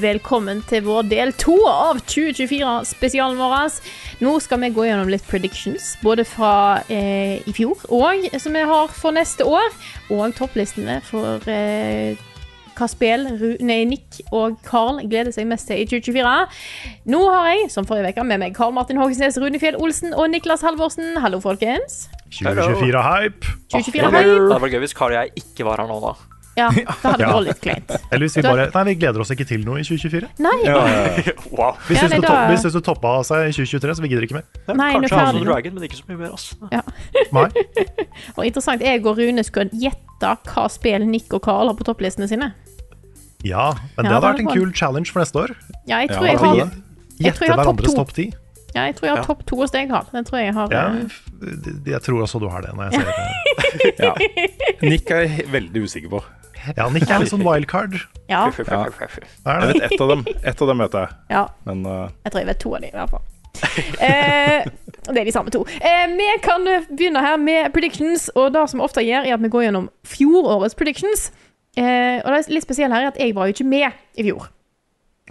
Velkommen til vår del to av 2024-spesialen vår. Nå skal vi gå gjennom litt predictions, både fra eh, i fjor og som vi har for neste år. Og topplistene for eh, hva spill Ru nei, Nick og Carl gleder seg mest til i 2024. Nå har jeg, som forrige uke, med meg Carl Martin Hogsnes, Rune Fjell Olsen og Niklas Halvorsen. Hallo, folkens. 2024 hype. 2024 det hype. hadde vært gøy hvis Carl og jeg ikke var her nå, da. Ja, det hadde Ja. vært litt kleint. Eller hvis vi Da- bare Nei, vi gleder oss ikke til noe i 2024. Nei, wow. Vi Ja, syns nei, det, da- topp- vi syns det toppa seg i 2023, så vi gidder ikke mer. Nei, nå Kanskje House ferdig of nå. Dragon, men ikke så mye mer. altså. ass. Nei. og interessant, jeg og Rune skulle gjette hva spill Nick og Carl har på topplistene sine. Ja, men Ja, det hadde det vært en var- kul challenge for neste år. Ja, jeg tror At jeg vi har, jeg gjet- tror Gjette jeg har topp hverandres to. topp ti. ja, jeg tror jeg har Ja. topp to hos deg, Carl. Den tror jeg har Ja, eh, f- jeg tror også du har det. når jeg ser det. Nick er jeg he- veldig usikker på. Ja, Nick er litt sånn wildcard. Ja, Ja. Hva Er Jeg det? vet ett av dem. Ett av dem vet jeg. ja. Men eh, Jeg tror jeg vet to av dem, i hvert fall. Eh, det er de samme to. Eh, vi kan eh, begynne her med predictions, og det som vi ofte gjør, er at vi går gjennom fjorårets predictions. Eh, og det er litt spesielt her er at jeg var jo ikke med i fjor.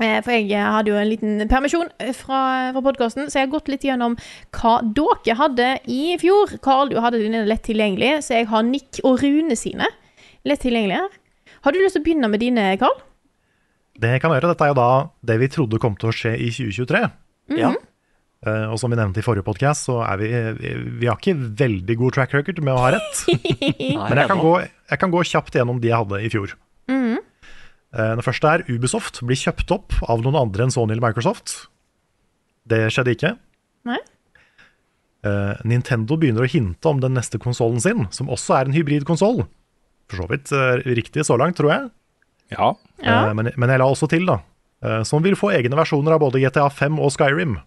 Eh, For jeg eh, hadde jo en liten permisjon eh, fra, fra podkasten, så jeg har gått litt gjennom hva dere hadde i fjor. Carl, du hadde dine lett tilgjengelige, så jeg har Nick og Rune sine lett tilgjengelige her. Har du lyst til å begynne med dine, Carl? Det kan jeg gjøre. Dette er jo da det vi trodde kom til å skje i 2023. Mhm. Ja. Eh, Og som vi nevnte i forrige podkast, så er vi, vi Vi har ikke veldig god track record med å ha rett. Men jeg kan, gå, jeg kan gå kjapt gjennom de jeg hadde i fjor. Mm. Eh, Det første er Ubisoft blir kjøpt opp av noen andre enn Sony eller Microsoft. Det skjedde ikke. Nei? Eh, Nintendo begynner å hinte om den neste konsollen sin, som også er en hybridkonsoll. For så vidt eh, riktig så langt, tror jeg. ja. Ja. Eh, Men, men jeg la også til, da. eh, Som vil få egne versjoner av både GTA 5 og Skyrim.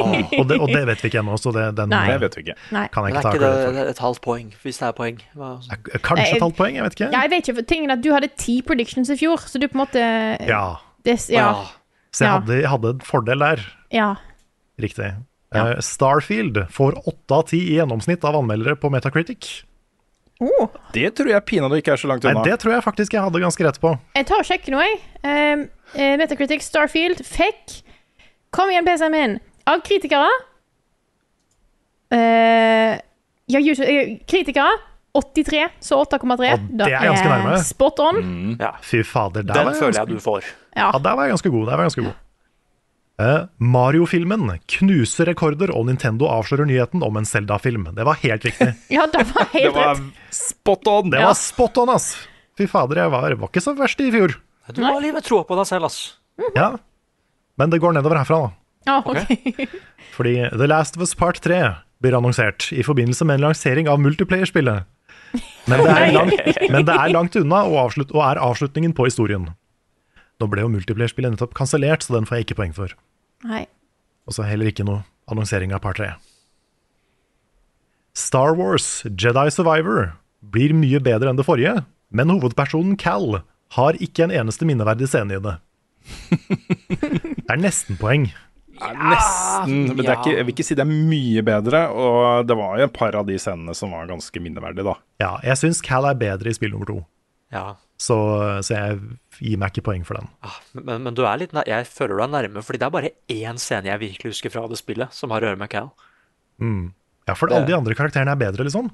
Ah, og, det, og det vet vi ikke ennå, så det, den Nei. Det vet vi ikke. Nei. kan jeg Men ikke er ta ikke akkurat det, for. det er et halvt poeng, hvis det er poeng? Hva- altså. Eh, Kanskje Nei, et halvt poeng, jeg vet ikke. Ja, jeg vet ikke, for tingen er at du hadde ti predictions i fjor, så du på en måte Ja, Det, ja, Å, Så jeg Ja. hadde, jeg hadde en fordel der. ja. Riktig. Ja. Eh, Starfield får åtte av ti i gjennomsnitt av anmeldere på Metacritic. Oh, Det tror jeg pinadø ikke er så langt Nei, unna. det tror jeg faktisk jeg hadde ganske rett på. jeg tar og sjekker noe, jeg. Um, eh, Metacritic Starfield fikk Kom igjen, PC-en min! Av kritikere eh, Ja, YouTube, eh, kritikere 83, så 8,3. Og det er ganske nærme. Spot on. Ja. Fy fader, der Den var jeg føler ganske- jeg du får. Ja. Ja, der var jeg ganske god. Der var jeg ganske god. Eh, Mario-filmen knuser rekorder, og Nintendo avslører nyheten om en Zelda-film. Det var helt riktig. ja, det var Det helt var rett. spot on! Det Ja. var spot on, ass! Fy fader, jeg var, var ikke så verst i fjor. Du har livet troa på deg selv, ass. Ja. Men det går nedover herfra, da. Ja, Ah, ok. Fordi The Last of Us Part 3 blir annonsert i forbindelse med en lansering av multiplayer-spillet. Men, det er langt- men det er langt unna og, avslut, og er avslutningen på historien. Nå ble jo multiplayer-spillet nettopp kansellert, så den får jeg ikke poeng for. Nei. Og så heller ikke noe annonsering av par 3. Star Wars Jedi Survivor blir mye bedre enn det forrige, men hovedpersonen Cal har ikke en eneste minneverdig scene i det. Det er nesten poeng. Ja, nesten. Men det er ikke, jeg vil ikke si det er mye bedre. Og det var jo et par av de scenene som var ganske minneverdige, da. Ja, jeg syns Cal er bedre i spill nummer to, Ja. så, så jeg gir meg ikke poeng for den. Ah, Men, men du er litt nær, jeg føler du er nærme, fordi det er bare én scene jeg virkelig husker fra det spillet, som har å gjøre med Cal. Ja, for alle de andre karakterene er bedre, liksom.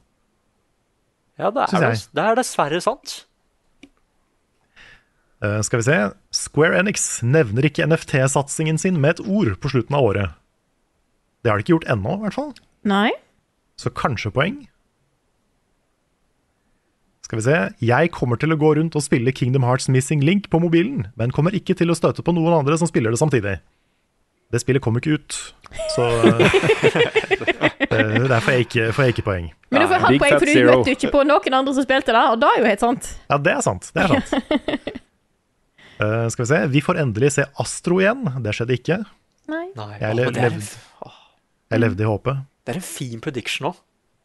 Ja, det Synes er, jeg. dess- det er dessverre sant. Eh, skal vi se Square Enix nevner ikke NFT-satsingen sin med et ord på slutten av året. Det har de ikke gjort ennå, i hvert fall. Nei. Så kanskje poeng. Skal vi se. Jeg kommer til å gå rundt og spille Kingdom Hearts Missing Link på mobilen, men kommer ikke til å støte på noen andre som spiller det samtidig. Det spillet kom ikke ut, så eh, Der får jeg ikke, får jeg ikke poeng. Men du får Big halvt poeng, Fat for du Zero. møtte jo ikke på noen andre som spilte det, og det er jo helt sant. Ja, det er sant. Det er sant. Eh, skal vi se. Vi får endelig se Astro igjen. Det skjedde ikke. Nei. Nei, Jeg åh, lev- det, er, lev- en- åh, Jeg levde i håpet. det er en fin prediction òg.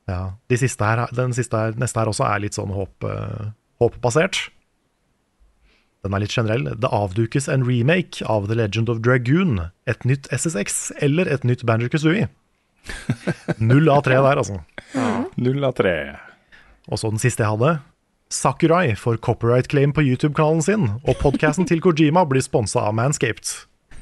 Ja. De siste her, den siste her, neste her også er litt sånn håp, eh, håpbasert. Den er litt generell. Det avdukes en remake av The Legend of Dragoon. Et nytt SSX eller et nytt Banjo Kazooie. Null av tre der, altså. Null av tre. Og så den siste jeg hadde. Sakurai får copyright claim på YouTube-kanalen sin, og podkasten til Kojima blir sponsa av Manscaped.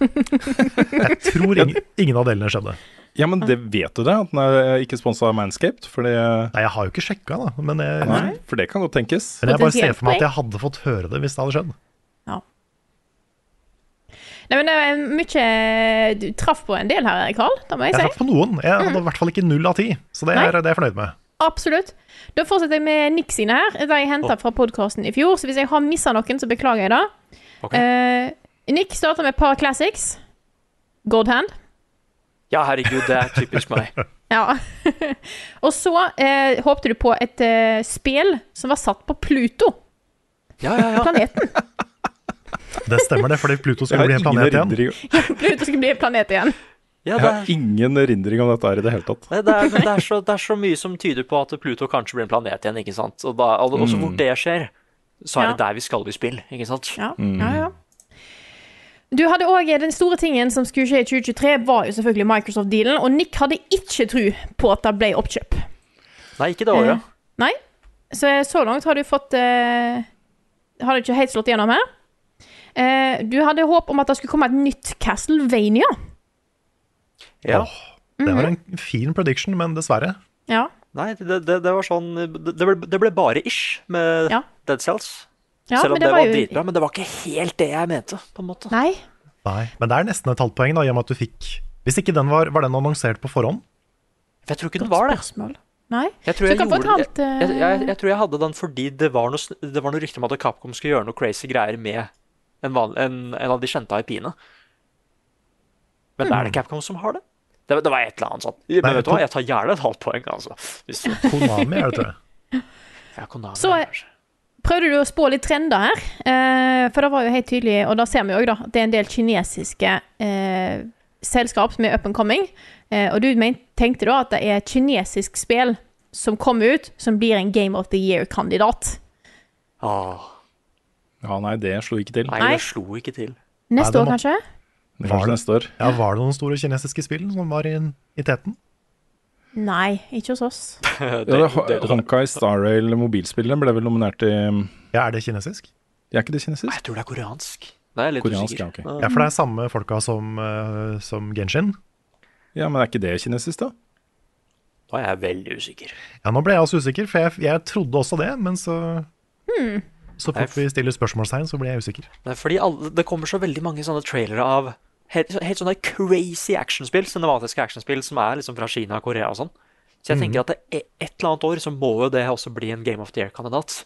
Jeg tror ingen, ingen av delene skjedde. Ja, men det vet du det, at den er eh, ikke sponsa av Manscaped. For det, Nei, jeg har jo ikke sjekka, da, men jeg, men nei, for det kan godt tenkes. jeg bare ser for meg at jeg hadde fått høre det hvis det hadde skjedd. Nei, men det er mye Du traff på en del her, Karl. Det må jeg Jeg si. traff på noen. Jeg hadde i hvert fall ikke null av ti, så det er, det er jeg fornøyd med. Absolutt. Da fortsetter jeg med Nick sine her. De er henta fra podkasten i fjor, så hvis jeg har missa noen, så beklager jeg det. Ok. Eh, Nick starter med et par classics. God hand. Ja, herregud, det er typisk meg. Ja. Og så eh, håpte du på et eh, spel som var satt på Pluto, Ja, ja, ja. planeten. Det stemmer, det, fordi Pluto Jeg skulle har bli en ingen planet igjen. erindring, Pluto skal bli en planet igjen. ja jeg det, har ingen erindring om dette her i det hele tatt. Nei, det, er, men det, er så, det er så mye som tyder på at Pluto kanskje blir en planet igjen, ikke sant. Og da, og så fort det skjer, så er det der vi skal i spill, ikke sant. Ja, ja, ja. Du hadde òg den store tingen som skulle skje i 2023, var jo selvfølgelig Microsoft-dealen, og Nick hadde ikke tru på at det ble oppkjøp. Nei, ikke det året. Nei. Så, så langt har du fått eh, Har du ikke helt slått igjennom her. Eh, du hadde håp om at det skulle komme et nytt Castlevania. Ja. Åh, det var en fin prediction, men dessverre. Ja. Nei, det, det, det var sånn Det det ble, det ble bare ish med Ja. Dead Cells. ja Selv om men det, var, jo- dritbra, men det var ikke helt det jeg mente, på en måte. Nei. Nei. Men det er nesten et halvt poeng, da, i og med at du fikk Hvis ikke den var, var den annonsert på forhånd? For jeg tror ikke den var det. Spørsmål. Nei. Jeg Så tror jeg, du kan få et gjorde, jeg, halvt eh, jeg, jeg, jeg tror jeg hadde den fordi det var noe, sn- det var noe rykte om at Capcom skulle gjøre noe crazy greier med en, van, en, en av de kjente IP-ene. Men er Mm. det Capcom som har det? Det, det var et eller annet sånt. Men Nei, vet du hva, to- jeg tar gjerne et halvt poeng, altså. Hvis du Konami, er det tror jeg. ja, Konami, Så- kanskje. Prøvde du å spå litt trender her? Eh, for det var jo helt tydelig, og da ser vi jo òg, da, at det er en del kinesiske eh, selskap som er up and coming. Eh, og du men- tenkte da at det er et kinesisk spill som kommer ut, som blir en Game of the Year-kandidat. Åh, Ja, nei, det slo ikke til. nei, Nei. det slo ikke til. Neste Nei, det år, må- kanskje? Kanskje neste år. Ja, Var det noen store kinesiske spill som var i, i teten? Nei, ikke hos oss. Ja, det, Ho- Honkai Star Rail mobilspillet ble vel nominert i Ja, Er det kinesisk? Er ikke det kinesisk? Jeg tror det er koreansk. Nei, jeg er litt Koreansk, usikker. ja, Ja, for det er samme folka som, eh, som Genshin. Ja, men er ikke det kinesisk, da? Nå er jeg veldig usikker. Ja, nå ble jeg også usikker, for jeg, jeg trodde også det, men så Så Nei, fort f- vi stiller spørsmålstegn, så blir jeg usikker. Nei, fordi alle, det kommer så veldig mange sånne trailere av helt, helt sånne crazy actionspill, cinematiske actionspill, som er liksom fra Kina og Korea og sånn. Så jeg tenker at det er et eller annet år så må jo det også bli en Game of the Year-kandidat.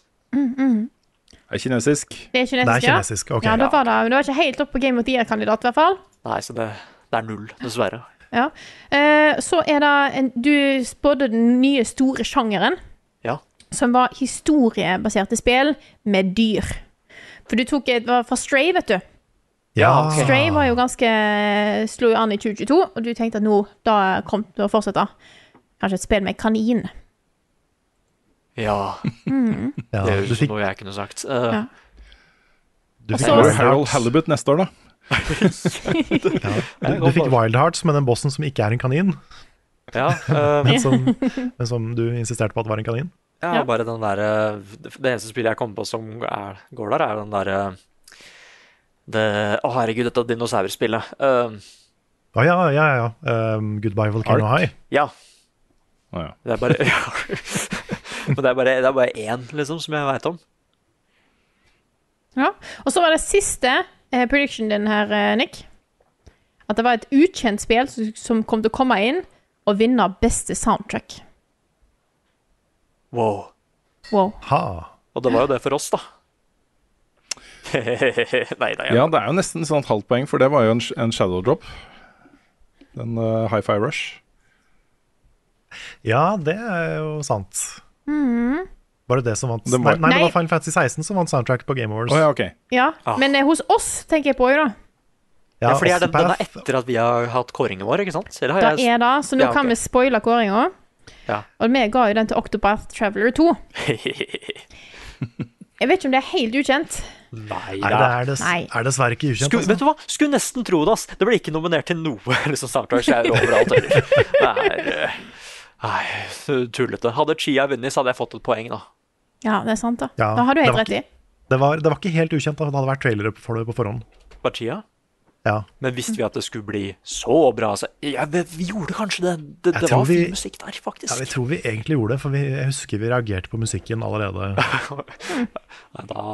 Er kinesisk? Det er kinesisk, Det er kinesisk, ok. ja. ja det, var det, men det var ikke helt opp på Game of the Year-kandidat, i hvert fall. Nei, så det, det er null, dessverre. Ja. Eh, så er det en, Du spådde den nye store sjangeren. Ja. Som var historiebaserte spill med dyr. For du tok et det var fra Stray, vet du. Ah. Ja, ok. Stray var jo ganske eh, slo jo an i 2022, og du tenkte at nå da kom det å fortsette. Kanskje et spill med kanin. Ja, Ja, det er du jo fikk, noe jeg kunne sagt. Eh, Ja. du fikk, Var Så- Wild det Harold Hearts. Halibut neste år, da? du, du fikk Wild Hearts med den bossen som ikke er en kanin, ja, eh, men som, men som du insisterte på at var en kanin. ja, Ja. bare den derre Det eneste spillet jeg kommer på som er, går der, er den derre det Å, herregud, dette dinosaurspillet. Eh, Å ja, ja, ja. Um, goodbye Volcano Ark. High. ja. Å ja. Det er bare Men det er bare, det er bare én, liksom, som jeg veit om. Ja. Og så var det siste eh, prediction din her, eh, Nick. At det var et ukjent spill som, som kom til å komme inn og vinne beste soundtrack. Wow. Wow. Ha. Og det var jo det for oss, da. nei, nei. Ja, det er jo nesten sånn et halvt poeng, for det var jo en, sh- en shadow drop. Den eh, high five rush. Ja, det er jo sant. Var det det som vant? Det nei, var- nei, det Nei. var Final Fantasy 16 som vant soundtrack på Game Awards. Å ja, ok. Ja, Ah. men eh, hos oss tenker jeg på, jo da. Ja, fordi altså, er den, den er Octopath- etter at vi har hatt kåringen vår, ikke sant? Eller Da har jeg er det, så nå Ja, ok. kan vi spoile kåringa. Ja. Og vi ga jo den til Octopath Traveler 2. Jeg vet ikke om det er helt ukjent. Nei, Nei det da. er, dess, Nei. er dessverre ikke ukjent. Skulle, vet Altså. du hva? Skulle nesten tro det, ass. Det ble ikke nominert til noe liksom soundtrack jeg er overalt. eller. Det er, eh, Nei, så tullete. Hadde Chia vunnet, så hadde jeg fått et poeng, da. Ja, det er sant, da. Ja, da har du det helt var rett i. Det, var, det var ikke helt ukjent, da. det hadde vært trailere for det på forhånd. Var Chia? Ja. Men visste vi at det skulle bli så bra? Så, ja, vi, vi gjorde kanskje det. Det, Jeg det tror var vi- fin musikk der, ja, vi faktisk. tror vi egentlig gjorde det, for vi, jeg husker vi reagerte på musikken allerede. Nei, da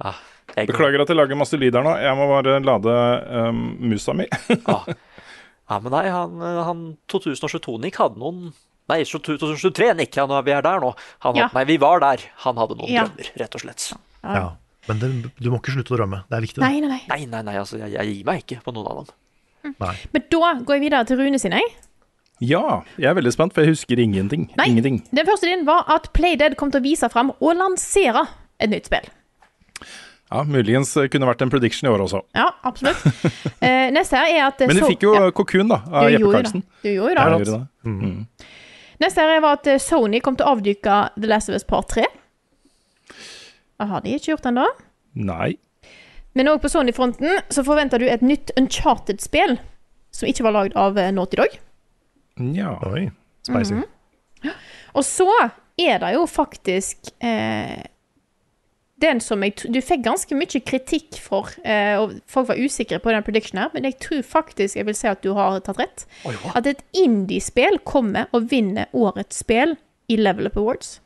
ja, jeg, Beklager at jeg lager masse lyd her nå. Jeg må bare lade ehm, musa mi. Ja. ja, men nei, han, han 2022-Nick hadde noen Nei, 2023-Nick, ja, nå er vi er der nå. Han Ja. hadde, nei, vi var der. Han hadde noen Ja. drømmer, rett og slett. Ja. Men det, du må ikke slutte å drømme, det er viktig. det. Nei, nei, nei. Nei, nei, nei, altså, jeg, jeg gir meg ikke på noen av dem. Men da går jeg videre til Rune sin, jeg. Ja, jeg er veldig spent, for jeg husker ingenting. Nei. Ingenting. Den første din var at Playdead kom til å vise fram og lansere et nytt spill. Ja, Muligens eh, kunne vært en prediction i år også. Ja, absolutt. Eh, neste her er at eh, Men du So- fikk jo ja, Cocoon, da, du av Jeppe gjorde jo Karlsen. det. Du gjorde Ja, jo jeg det. gjorde det. Neste her var at eh, Sony kom til å avduke The Last of Us Part 3. Det har de ikke gjort ennå. Nei. Men òg på Sony-fronten så forventer du et nytt Uncharted-spill som ikke var lagd av eh, Naughty Dog. Nja. Oi, spicy. Mhm. Og så er det jo faktisk eh, den som jeg tr- Du fikk ganske mye kritikk for, eh, og folk var usikre på den predictionen her, men jeg tror faktisk jeg vil si at du har tatt rett. Oi, hva? At et indie-spill kommer og vinner årets spill i Level Up Awards.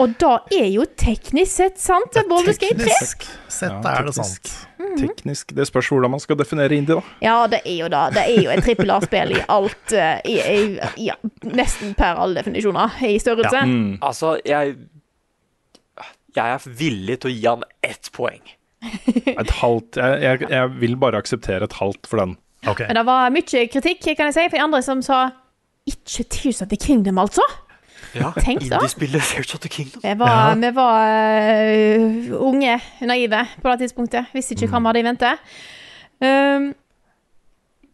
Og da er jo teknisk sett sant, Baldur's Gate 3. Teknisk sett Ja, er det teknisk. sant. Mhm. Teknisk Det spørs hvordan man skal definere indie, da. Ja, det er jo da. Det er jo et trippel A-spill i alt eh, i, i, ja, Nesten per alle definisjoner i størrelse. Ja. Altså, jeg Jeg er villig til å gi han ett poeng. Et halvt jeg, jeg, jeg vil bare akseptere et halvt for den. Ok, Men det var mye kritikk, kan jeg si, for de andre som sa ikke Tears of the Kingdom, altså. Ja, Tenk da. Indiespillet Fairs of the Kingdom. Vi var, vi var øh, unge, naive på det tidspunktet. Visste ikke hva Mm. vi hadde i vente. Um,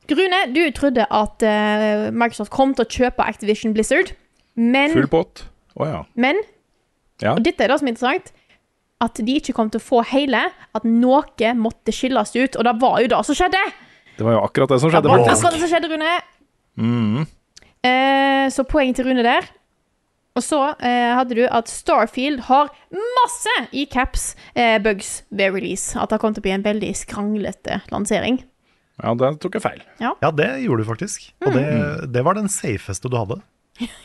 Grune, du trodde at øh, Microsoft kom til å kjøpe Activision Blizzard, men, Full pott. Å ja. men Ja. Og dette er det som er interessant. At de ikke kom til å få hele. At noe måtte skilles ut. Og det var jo det som skjedde! Det var jo akkurat det som Det skjedde. var faktisk. akkurat det som skjedde, Rune. Eh, så poeng til Rune der. Og så eh, hadde du at Starfield har masse i caps eh, bugs ved release. At det kom til å bli en veldig skranglete lansering. Ja, der tok jeg feil. Ja, det gjorde du faktisk. Og det, Mm. det var den safeste du hadde.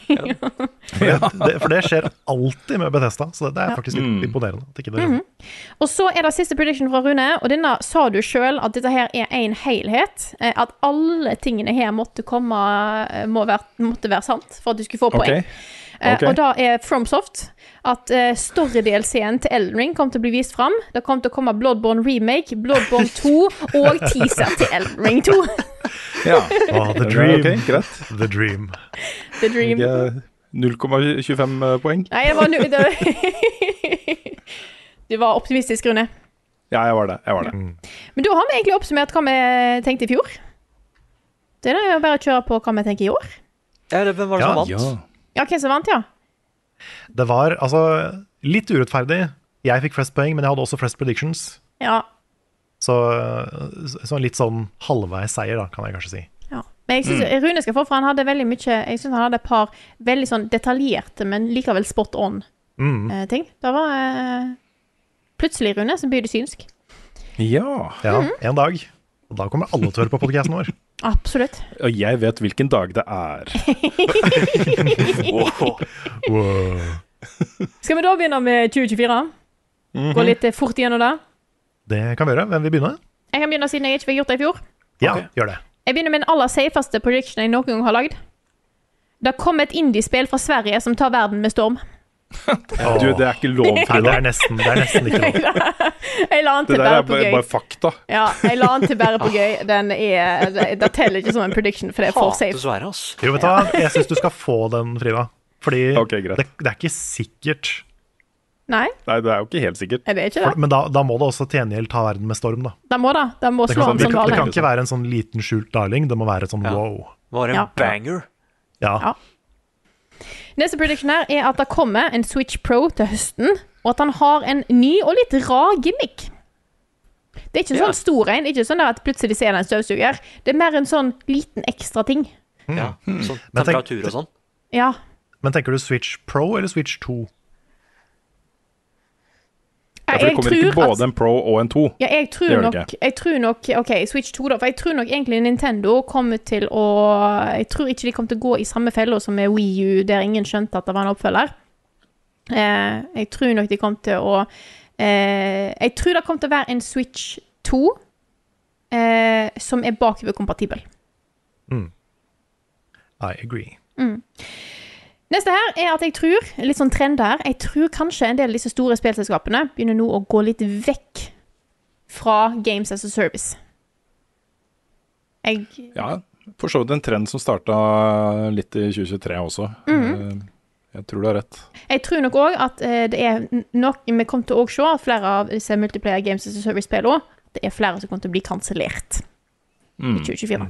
For det, det, for det skjer alltid med Bethesda, så det, det er faktisk Mm. litt imponerende. At ikke det Mm. Og så er det siste prediction fra Rune, og denne sa du sjøl at dette her er en helhet. Eh, at alle tingene her måtte komme eh, må være, måtte være sant for at du skulle få Ok. poeng. Eh, Ok. Og da er Fromsoft at eh, story-DLC-en til Elden Ring kom til å bli vist fram. Det kom til å komme Bloodborne remake, Bloodborne 2 og teaser til Elden Ring 2. Ja. Åh, the Det er dream. ok, greit. The dream. The Dream. Ikke 0,25 eh, poeng. Nei, det var nu... det- Du var optimistisk, Rune. Ja, jeg var det. Jeg var Mm. det. Men da har vi egentlig oppsummert hva vi tenkte i fjor. Det er jo bare å kjøre på hva vi tenker i år. Ja, eller hvem var det som Ja. vant? Ja. Ja, hvem som vant, ja? Det var altså litt urettferdig. Jeg fikk flest poeng, men jeg hadde også flest predictions. Ja. Så, så en litt sånn halvveis seier, da, kan jeg kanskje si. ja. Men jeg Mm. syns Rune skal få, for han hadde veldig mye Jeg synes han hadde et par veldig sånn detaljerte, men likevel spot Mm. on-ting. det var eh, plutselig, Rune, som byr det synsk. ja. Ja, En dag. Og da kommer alle til å høre på podkasten vår. Absolutt. Og jeg vet hvilken dag det er. Åh, Skal vi da begynne med 2024? Mhm. Gå litt eh, fort igjennom det. Det kan vi gjøre. Hvem vil begynne? Jeg kan begynne siden jeg ikke fikk gjort det i fjor. Ja, Ok. gjør det. Jeg begynner med den aller safeste prediction jeg noen gang har lagd. Det kom et indiespill fra Sverige som tar verden med storm. Du, det er ikke lov, Nei, det Frida. er nesten, det er nesten ikke lov. Jeg la den Det til der er bare på bare, gøy. bare fakta. Ja, jeg la den til bare på gøy. Den er, det, det teller ikke som en prediction, for det er for Hater safe. Sverre, ass. Jo, vet du hva, jeg syns du skal få den, Frida. Fordi Ok, greit. det, det er ikke sikkert. Nei, Nei, det er jo ikke helt sikkert. er det ikke For, det? men da, da må det også til gjengjeld ta verden med storm, da. Den må da. Den må Det slå kan, sånn- han det, som kan, det kan gale. ikke være en sånn liten skjult darling, det må være sånn Ja. wow. Var en Ja. banger. Ja. Ja. Neste prediction her er at det kommer en Switch Pro til høsten, og at han har en ny og litt rar gimmick. Det er ikke en Ja. sånn stor en, ikke sånn at plutselig ser det en støvsuger. Det er mer en sånn liten ekstra ting. Ja. Sånn Men tenk- temperatur og sånn. Ja. Men tenker du Switch Pro eller Switch 2? Ja, for det kommer ikke tror at- både en pro og en to. Ja, jeg Det gjør tror, det nok, ikke. jeg tror nok OK, Switch 2, da. For jeg tror nok egentlig Nintendo kommer til å Jeg tror ikke de kommer til å gå i samme fella som med Wii U, der ingen skjønte at det var en oppfølger. Eh, jeg tror nok de kommer til å eh, Jeg tror det kommer til å være en Switch 2 eh, som er bakoverkompatibel. I agree. Neste her er at jeg tror, litt sånn trend her, jeg tror kanskje en del av disse store spillselskapene begynner nå å gå litt vekk fra Games as a Service. Jeg Ja, for så vidt en trend som starta litt i 2023 også. Eh, Jeg tror du har rett. Jeg tror nok òg at eh, det er n- nok Vi kommer til å også se at flere av disse multiplayer games as a service-spillene Det er flere som kommer til å bli kansellert i 2024. God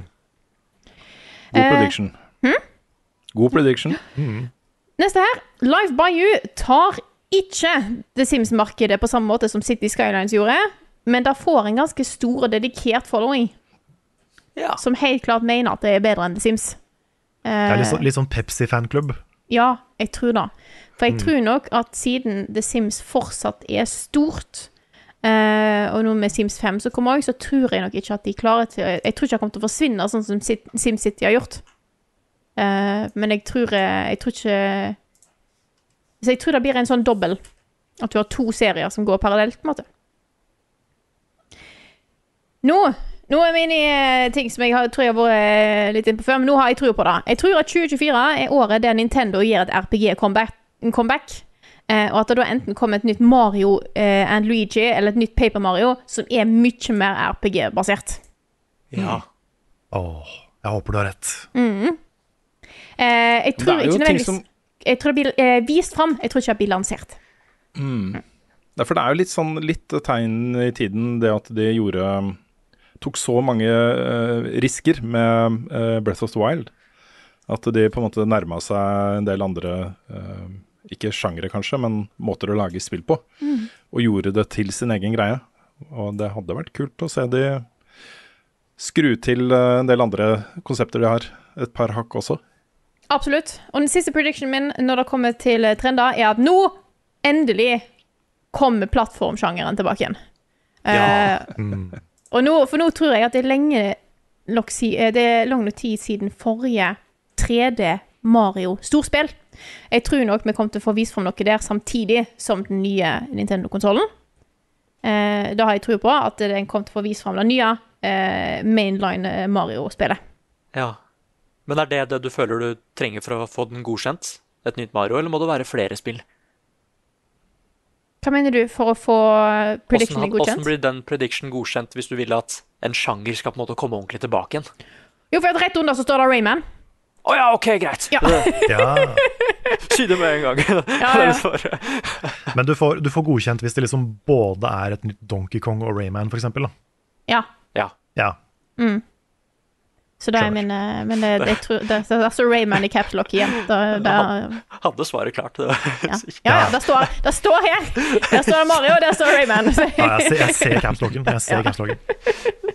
Eh, prediction. God prediction. Neste her. Live by you tar ikke The Sims-markedet på samme måte som City Skylines gjorde, men der får en ganske stor og dedikert following Ja. som helt klart mener at det er bedre enn The Sims. Det er Eh, litt, sånn- litt sånn Pepsi-fanklubb. Ja, jeg tror det. For jeg tror nok at siden The Sims fortsatt er stort, eh, og nå med Sims 5 som kommer òg, så tror jeg nok ikke at de klarer til Jeg tror ikke det kommer til å forsvinne, sånn som Sit- SimCity har gjort. Eh, men jeg tror, eh, jeg tror ikke Så jeg tror det blir en sånn dobbel. At du har to serier som går parallelt, på en måte. Nå nå er vi inne i eh, ting som jeg har, tror jeg har vært eh, litt inne på før, men nå har jeg trua på det. Jeg tror at 2024 er året der Nintendo gjør et RPG-comeback, comeback, eh, og at det da enten kommer et nytt Mario eh, and Luigi eller et nytt Paper Mario som er mye mer RPG-basert. Ja. Åh, jeg håper du har rett. Eh, Det jeg er tror jo ikke ting nødvendigvis som- Jeg tror det blir eh, vist fram, jeg tror ikke det blir lansert. Derfor det er jo litt sånn litt tegn i tiden det at de gjorde Tok så mange eh, risker med eh, Breath of the Wild at de på en måte nærma seg en del andre eh, Ikke sjangre, kanskje, men måter å lage spill på. Og gjorde det til sin egen greie. Og det hadde vært kult å se de skru til eh, en del andre konsepter de har. Et par hakk også. Absolutt. Og den siste predictionen min når det kommer til eh, trender, er at nå, endelig, kommer plattformsjangeren tilbake igjen. Ja. Eh, og nå, for nå tror jeg at det er lenge nok, si, eh, det er lang nok tid siden forrige 3D Mario-storspill. Jeg tror nok vi kommer til å få vist fram noe der samtidig som den nye Nintendo-konsollen. Eh, da har jeg tro på at den kommer til å få vist fram det nye eh, mainline eh, Mario-spillet. ja. Men er det det du føler du trenger for å få den godkjent? Et nytt Mario, eller må det være flere spill? Hva mener du for å få predictionen godkjent? Hvordan blir den prediction godkjent hvis du vil at en sjanger skal på en måte komme ordentlig tilbake igjen? Jo, for at rett under så står det Rayman. Å ja, OK, greit. Ja. Ja, Si det med en gang. Ja, ja. Men du får, du får godkjent hvis det liksom både er et nytt Donkey Kong og Rayman, for eksempel. Da. Ja, ja. Ja. så det er Skjønner. min eh, Men det, jeg tror, det, det, det står Rayman i caps lock igjen. Da- da- Hadde svaret klart. Det. ja. ja, ja, det står, det står her! Der står det Mario, og der står Rayman. Ja, jeg ser, jeg ser capsloggen. Jeg ser capsloggen.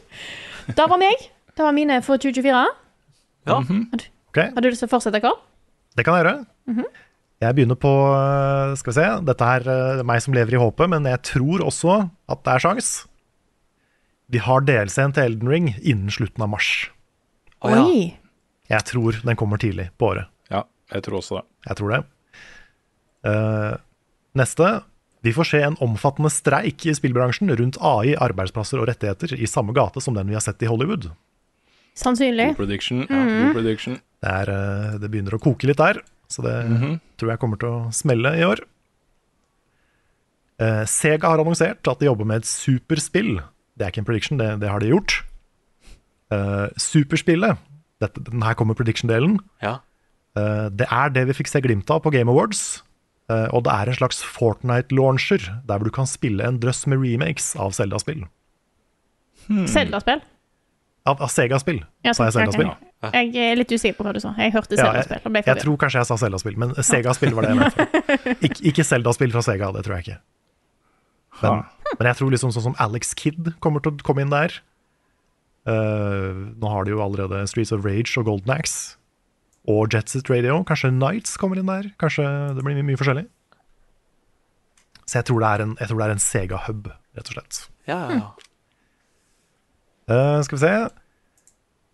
Da var meg. Det var mine for 2024. Ja. Mhm. Ok, Har du lyst til å fortsette, Karl? det kan jeg gjøre. Jeg begynner på øh, Skal vi se. Dette her, øh, det er meg som lever i håpet, men jeg tror også at det er sjans. Vi har DLC-en til Elden Ring innen slutten av mars. Å, ja. Oi. Jeg tror den kommer tidlig på året. Ja, jeg tror også det. Jeg tror det. Eh, neste. Vi får se en omfattende streik i spillbransjen rundt AI, arbeidsplasser og rettigheter i samme gate som den vi har sett i Hollywood. Sannsynlig. God prediction. Ja, god prediction. Det, er, eh, det begynner å koke litt der, så det tror jeg kommer til å smelle i år. Eh, Sega har annonsert at de jobber med et superspill. Det er ikke en prediction, det, det har de gjort. Eh, superspillet, dette, den her kommer prediction-delen, Ja. Eh, det er det vi fikk se glimt av på Game Awards. Eh, og det er en slags Fortnite-launcher, der hvor du kan spille en drøss med remakes av Zelda-spill. Mm. Zelda-spill? Av, av Sega-spill, Ja, sa jeg sånn, Zelda-spill. ok. Jeg er litt usikker på hva du sa. Jeg hørte Ja, Zelda-spill. jeg, og ble jeg forvirret. tror kanskje jeg sa Zelda-spill, men Sega-spill var det jeg mente. Ik ikke Zelda-spill fra Sega, det tror jeg ikke. Men, men jeg tror liksom sånn som Alex Kidd kommer til å komme inn der. Eh, nå har de jo allerede Streets of Rage og Golden Axe. Og Jetset Radio. Kanskje Nights kommer inn der. Kanskje det blir mye, mye forskjellig. Så jeg tror det er en, jeg tror det er en Sega-hub, rett og slett. Ja, ja, ja. Eh, skal vi se.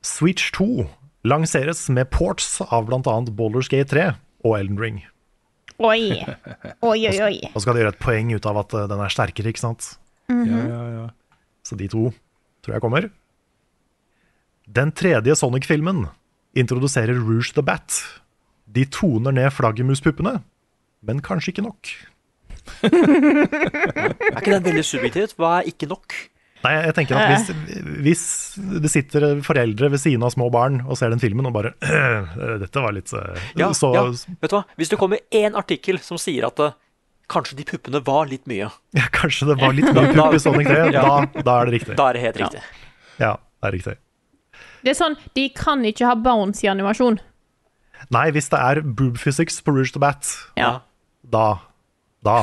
Switch 2 lanseres med ports av bl.a. Baldur's Gate 3 og Elden Ring. Oi. Oi, oi, oi. Og så skal de gjøre et poeng ut av at eh, den er sterkere, ikke sant? ja, ja, ja. Så de to tror jeg kommer. Den tredje Sonic-filmen introduserer Rouge the Bat. De toner ned flaggermuspuppene, men kanskje ikke nok. Er ikke den veldig subjektivt? Hva er ikke nok? Nei, jeg tenker at hvis, hvis det sitter foreldre ved siden av små barn og ser den filmen og bare Dette var litt eh, Ja, så, ja. Vet du hva? Hvis det kommer én artikkel som sier at eh, kanskje de puppene var litt mye, Ja, kanskje det var litt mye Da- pupp i Sonic 3. Ja. Da, da er det riktig. da er det helt riktig. Ja, det er riktig. Det er sånn, de kan ikke ha Bounce i animasjon. Nei, hvis det er boob physics på Rouge the Bat, Ja. da Da.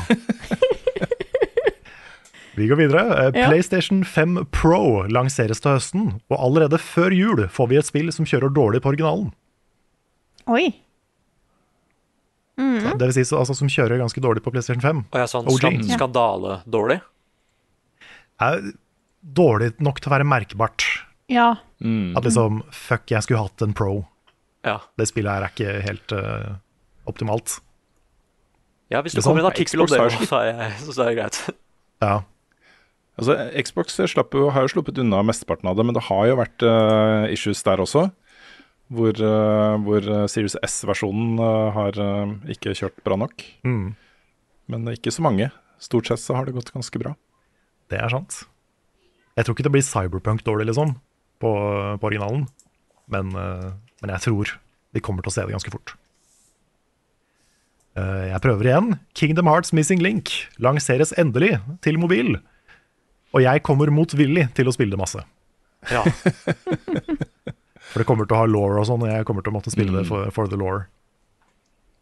Vi går videre. Eh, Ja. PlayStation 5 Pro lanseres til høsten, og allerede før jul får vi et spill som kjører dårlig på originalen. Oi. Det vil si så- altså, som kjører ganske dårlig på PlayStation 5. Og jeg er sånn OG. skan skandaledårlig. Er dårlig nok til å være merkbart. Ja. At liksom Fuck, jeg skulle hatt en pro. Ja. Det spillet her er ikke helt eh, optimalt. ja, hvis Det det er sant. kommer en artikkel om Xbox det, har jo- så er, jeg, så er det greit. Ja. Altså, Xbox slapp jo, har jo sluppet unna mesteparten av det, men det har jo vært eh, issues der også. Hvor, eh, hvor eh, Series S-versjonen eh, har eh, ikke kjørt bra nok. Mm. Men ikke så mange. Stort sett så har det gått ganske bra. Det er sant. Jeg tror ikke det blir cyberpunk dårlig, liksom, på, på originalen. Men, eh, men jeg tror de kommer til å se det ganske fort. Eh, jeg prøver igjen. Kingdom Hearts Missing Link lanseres endelig til mobil. Og jeg kommer motvillig til å spille det masse. Ja. For det kommer til å ha law og sånn, og jeg kommer til å måtte spille det for, for the law.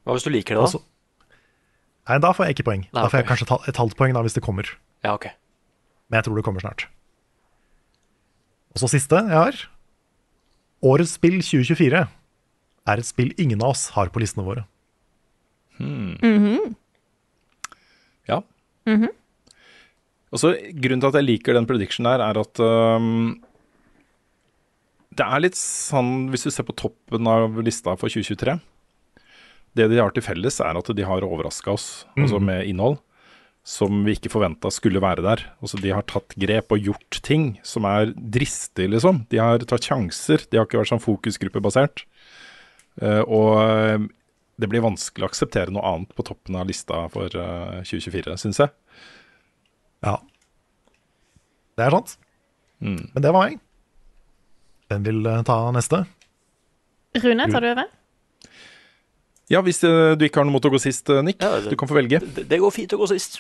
Hva hvis du liker det, Altså- da? Nei, da får jeg ikke poeng. Nei, Da får jeg ok. kanskje ta- et halvt poeng da, hvis det kommer. Ja, ok. Men jeg tror det kommer snart. Og så siste jeg har. Årets spill 2024 er et spill ingen av oss har på listene våre. Ja. Og så Grunnen til at jeg liker den prediction der, er at øhm, Det er litt sånn, hvis du ser på toppen av lista for 2023 Det de har til felles, er at de har overraska oss altså med innhold som vi ikke forventa skulle være der. Altså, de har tatt grep og gjort ting som er dristig, liksom. De har tatt sjanser. De har ikke vært sånn fokusgruppebasert. Eh, og eh, det blir vanskelig å akseptere noe annet på toppen av lista for eh, 2024, syns jeg. Ja. Mm. Det er sant. Men det var meg. Hvem vil eh, ta neste? Rune, tar du over? Ja, hvis eh, du ikke har noe mot å gå sist, eh, Nick. Ja, det- Du kan få velge. Det, det går fint å gå sist.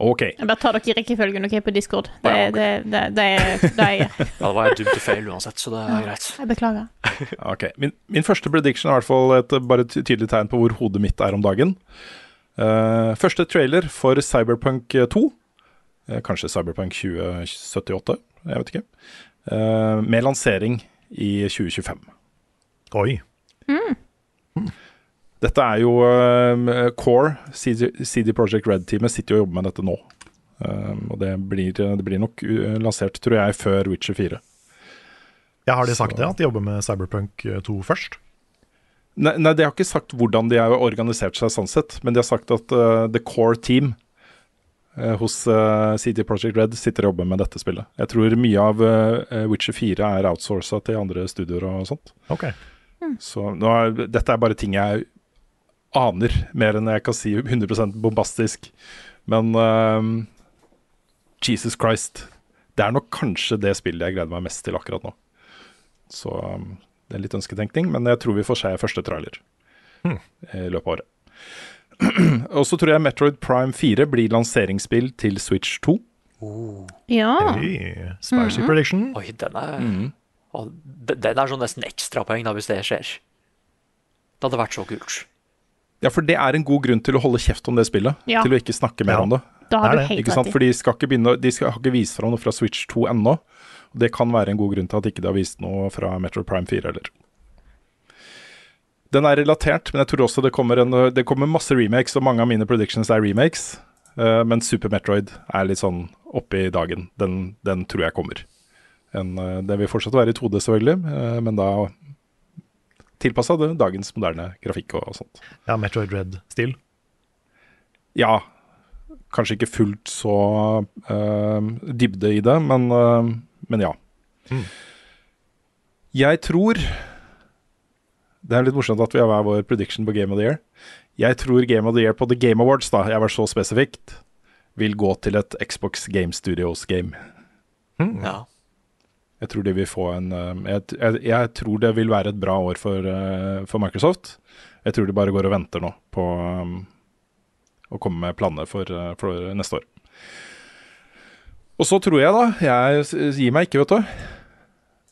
OK. Jeg bare tar dere i rekkefølgen ok, på Discord. Det, Ja, ok. det, det, det, er- det er Ja, det var dumt og feil uansett, så det er greit. Jeg beklager. ok. Min, min første prediction er i hvert fall et eh, bare et tydelig tegn på hvor hodet mitt er om dagen. Eh, første trailer for Cyberpunk 2. eh, kanskje Cyberpunk 2078, jeg vet ikke. eh, med lansering i 2025. Oi. Dette er jo um, Core, CD, CD Project Red-teamet, sitter jo og jobber med dette nå. Um, og det blir, det blir nok uh, lansert, tror jeg, før Witcher 4. Ja, har de sagt det, at de jobber med Cyberpunk 2 først? Nei, nei, de har ikke sagt hvordan de har organisert seg, sånn sett, men de har sagt at uh, The Core Team uh, hos uh, CD Project Red sitter og jobber med dette spillet. Jeg tror mye av uh, Witcher 4 er outsourca til andre studioer og sånt. Ok. Så nå er, dette er bare ting jeg aner, mer enn jeg kan si 100 bombastisk. Men eh, Jesus Christ. Det er nok kanskje det spillet jeg gleder meg mest til akkurat nå. Så eh, det er litt ønsketenkning, men jeg tror vi får se første trailer eh, i løpet av året. Og så tror jeg Metroid Prime 4 blir lanseringsspill til Switch 2. Ja. Hey, spicy prediction. Oi, den er Mm. Å, de- Den er sånn nesten ekstrapoeng, da, hvis det skjer. Det hadde vært så kult. Ja, for det er en god grunn til å holde kjeft om det spillet. Ja. Til å ikke snakke mer Ja. om det. Da har Er du det? helt Ikke sant? rett i. For de, skal ikke begynne, å- de skal, har ikke vist fram noe fra Switch 2 ennå. Og det kan være en god grunn til at ikke de har vist noe fra Metro Prime 4 heller. Den er relatert, men jeg tror også det kommer, en, det kommer masse remakes, og mange av mine predictions er remakes. Eh, men Super Metroid er litt sånn oppe i dagen. Den, den tror jeg kommer. En, eh, det vil fortsatt være i 2D, selvfølgelig, eh, men da tilpassa dagens moderne grafikk og, og sånt. Ja, Metroid Red-stil. Ja, kanskje ikke fullt så eh, dybde i det, men, eh, men ja. Jeg tror Det er litt morsomt at vi har hver vår prediction på Game of the Year. Jeg tror Game of the Year på The Game Awards, da, jeg var så spesifikt, vil gå til et Xbox Game Studios game. Mm. Ja. Jeg tror de vil få en eh, jeg, jeg, jeg tror det vil være et bra år for, eh, for Microsoft. Jeg tror de bare går og venter nå på eh, å komme med planer for, eh, for neste år. Og så tror jeg, da Jeg s- gir meg ikke, vet du.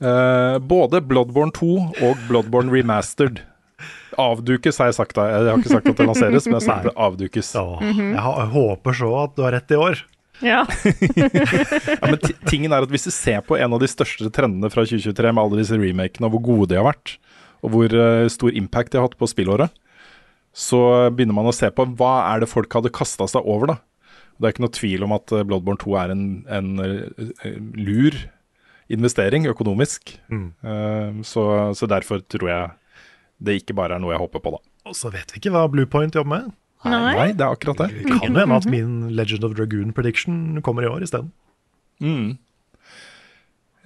Eh, både Bloodborne 2 og Bloodborne Remastered avdukes, har jeg sagt. da. Jeg har ikke sagt at det lanseres, men jeg har sagt det avdukes. Åh, jeg, ha- jeg håper så at du har rett i år. Ja. Ja, men ti- tingen er at Hvis du ser på en av de største trendene fra 2023, med alle disse remakene og hvor gode de har vært, og hvor eh, stor impact de har hatt på spillåret, så begynner man å se på hva er det folk hadde kasta seg over, da. Det er ikke noe tvil om at eh, Bloodborne 2 er en, en eh, eh, lur investering økonomisk. Eh, så, så derfor tror jeg det ikke bare er noe jeg håper på, da. Og så vet vi ikke hva Bluepoint jobber med. Nei. Nei, det er akkurat det. Det kan jo hende at min Legend of Dragoon prediction kommer i år isteden.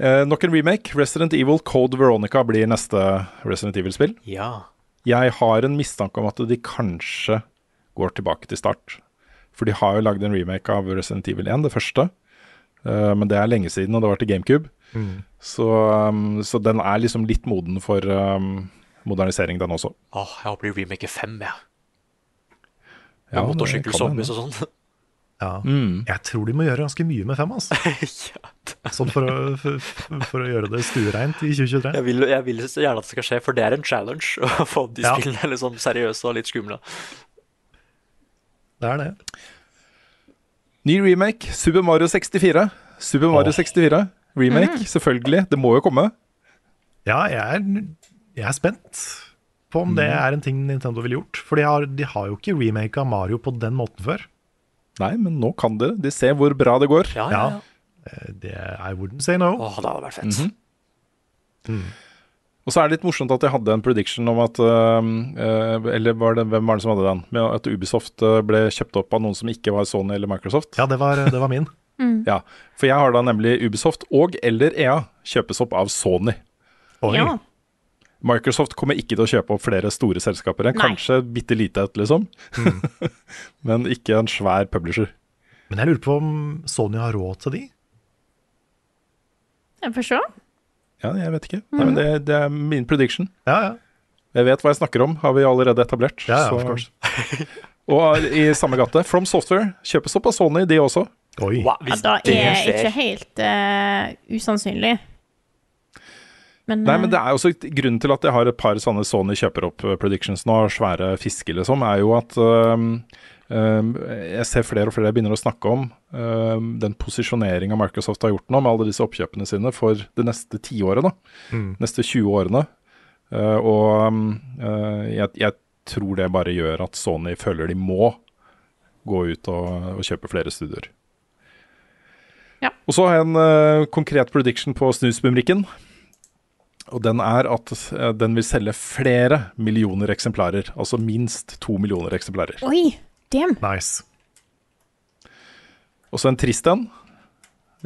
Eh, nok en remake. Resident Evil Code Veronica blir neste Resident Evil-spill. ja. Jeg har en mistanke om at de kanskje går tilbake til start. For de har jo lagd en remake av Resident Evil 1, det første. Eh, men det er lenge siden, og det var til GameCube. Mm. Så, um, så den er liksom litt moden for um, modernisering, den også. Åh, jeg håper de remaker fem, jeg. Ja, det Med motorsykkel, kan zombies hende. og sånn. Ja. Jeg tror de må gjøre ganske mye med fem, altså. Sånn for å, for, for å gjøre det stuereint i 2023. Jeg vil, jeg vil så gjerne at det skal skje, for det er en challenge å få de Ja. spillene litt sånn seriøse og litt skumle. Det er det. Ny remake, Super Mario 64. Super Mario 64 remake, selvfølgelig. Det må jo komme. Ja, jeg er, jeg er spent på om det er en ting Nintendo ville gjort. For de har, de har jo ikke remaka Mario på den måten før. Nei, men nå kan dere. De ser hvor bra det går. Ja, ja. Ja. Eh, Det, I wouldn't say no. Åh, det hadde vært fett. Og så er det litt morsomt at jeg hadde en prediction om at øhm, øh, Eller var det, hvem var det som hadde den? Med at Ubisoft øh, ble kjøpt opp av noen som ikke var Sony eller Microsoft. Ja, det var, det var min. Ja, For jeg har da nemlig Ubisoft og eller EA kjøpes opp av Sony. Oi. ja. Microsoft kommer ikke til å kjøpe opp flere store selskaper. enn Nei. Kanskje bitte lite et, liksom. Mm. Men ikke en svær publisher. Men jeg lurer på om Sony har råd til de? Jeg får se. Ja, jeg vet ikke. Nei, men det, det er min prediction. Ja, ja. Jeg vet hva jeg snakker om, har vi allerede etablert. ja, ja så- of course. og i samme gate, From Software kjøpes opp av Sony, de også. Oi. Wow, Ja, hvis da det er skjer ikke helt eh, usannsynlig. Men, Nei, men eh, det er jo også Grunnen til at jeg har et par sånne Sony kjøper opp eh, predictions nå, svære fisker, liksom, er jo at øhm, øhm, jeg ser flere og flere begynner å snakke om øhm, den posisjoneringa Microsoft har gjort nå, med alle disse oppkjøpene sine for det neste tiåret, da. Neste 20 årene. Eh, og øhm, eh, jeg, jeg tror det bare gjør at Sony føler de må gå ut og, og kjøpe flere studioer. Ja. Og så har jeg en eh, konkret prediction på snusmumrikken. Og den er at eh, den vil selge flere millioner eksemplarer. Altså minst to millioner eksemplarer. Oi, damn. Nice. Og så en trist en,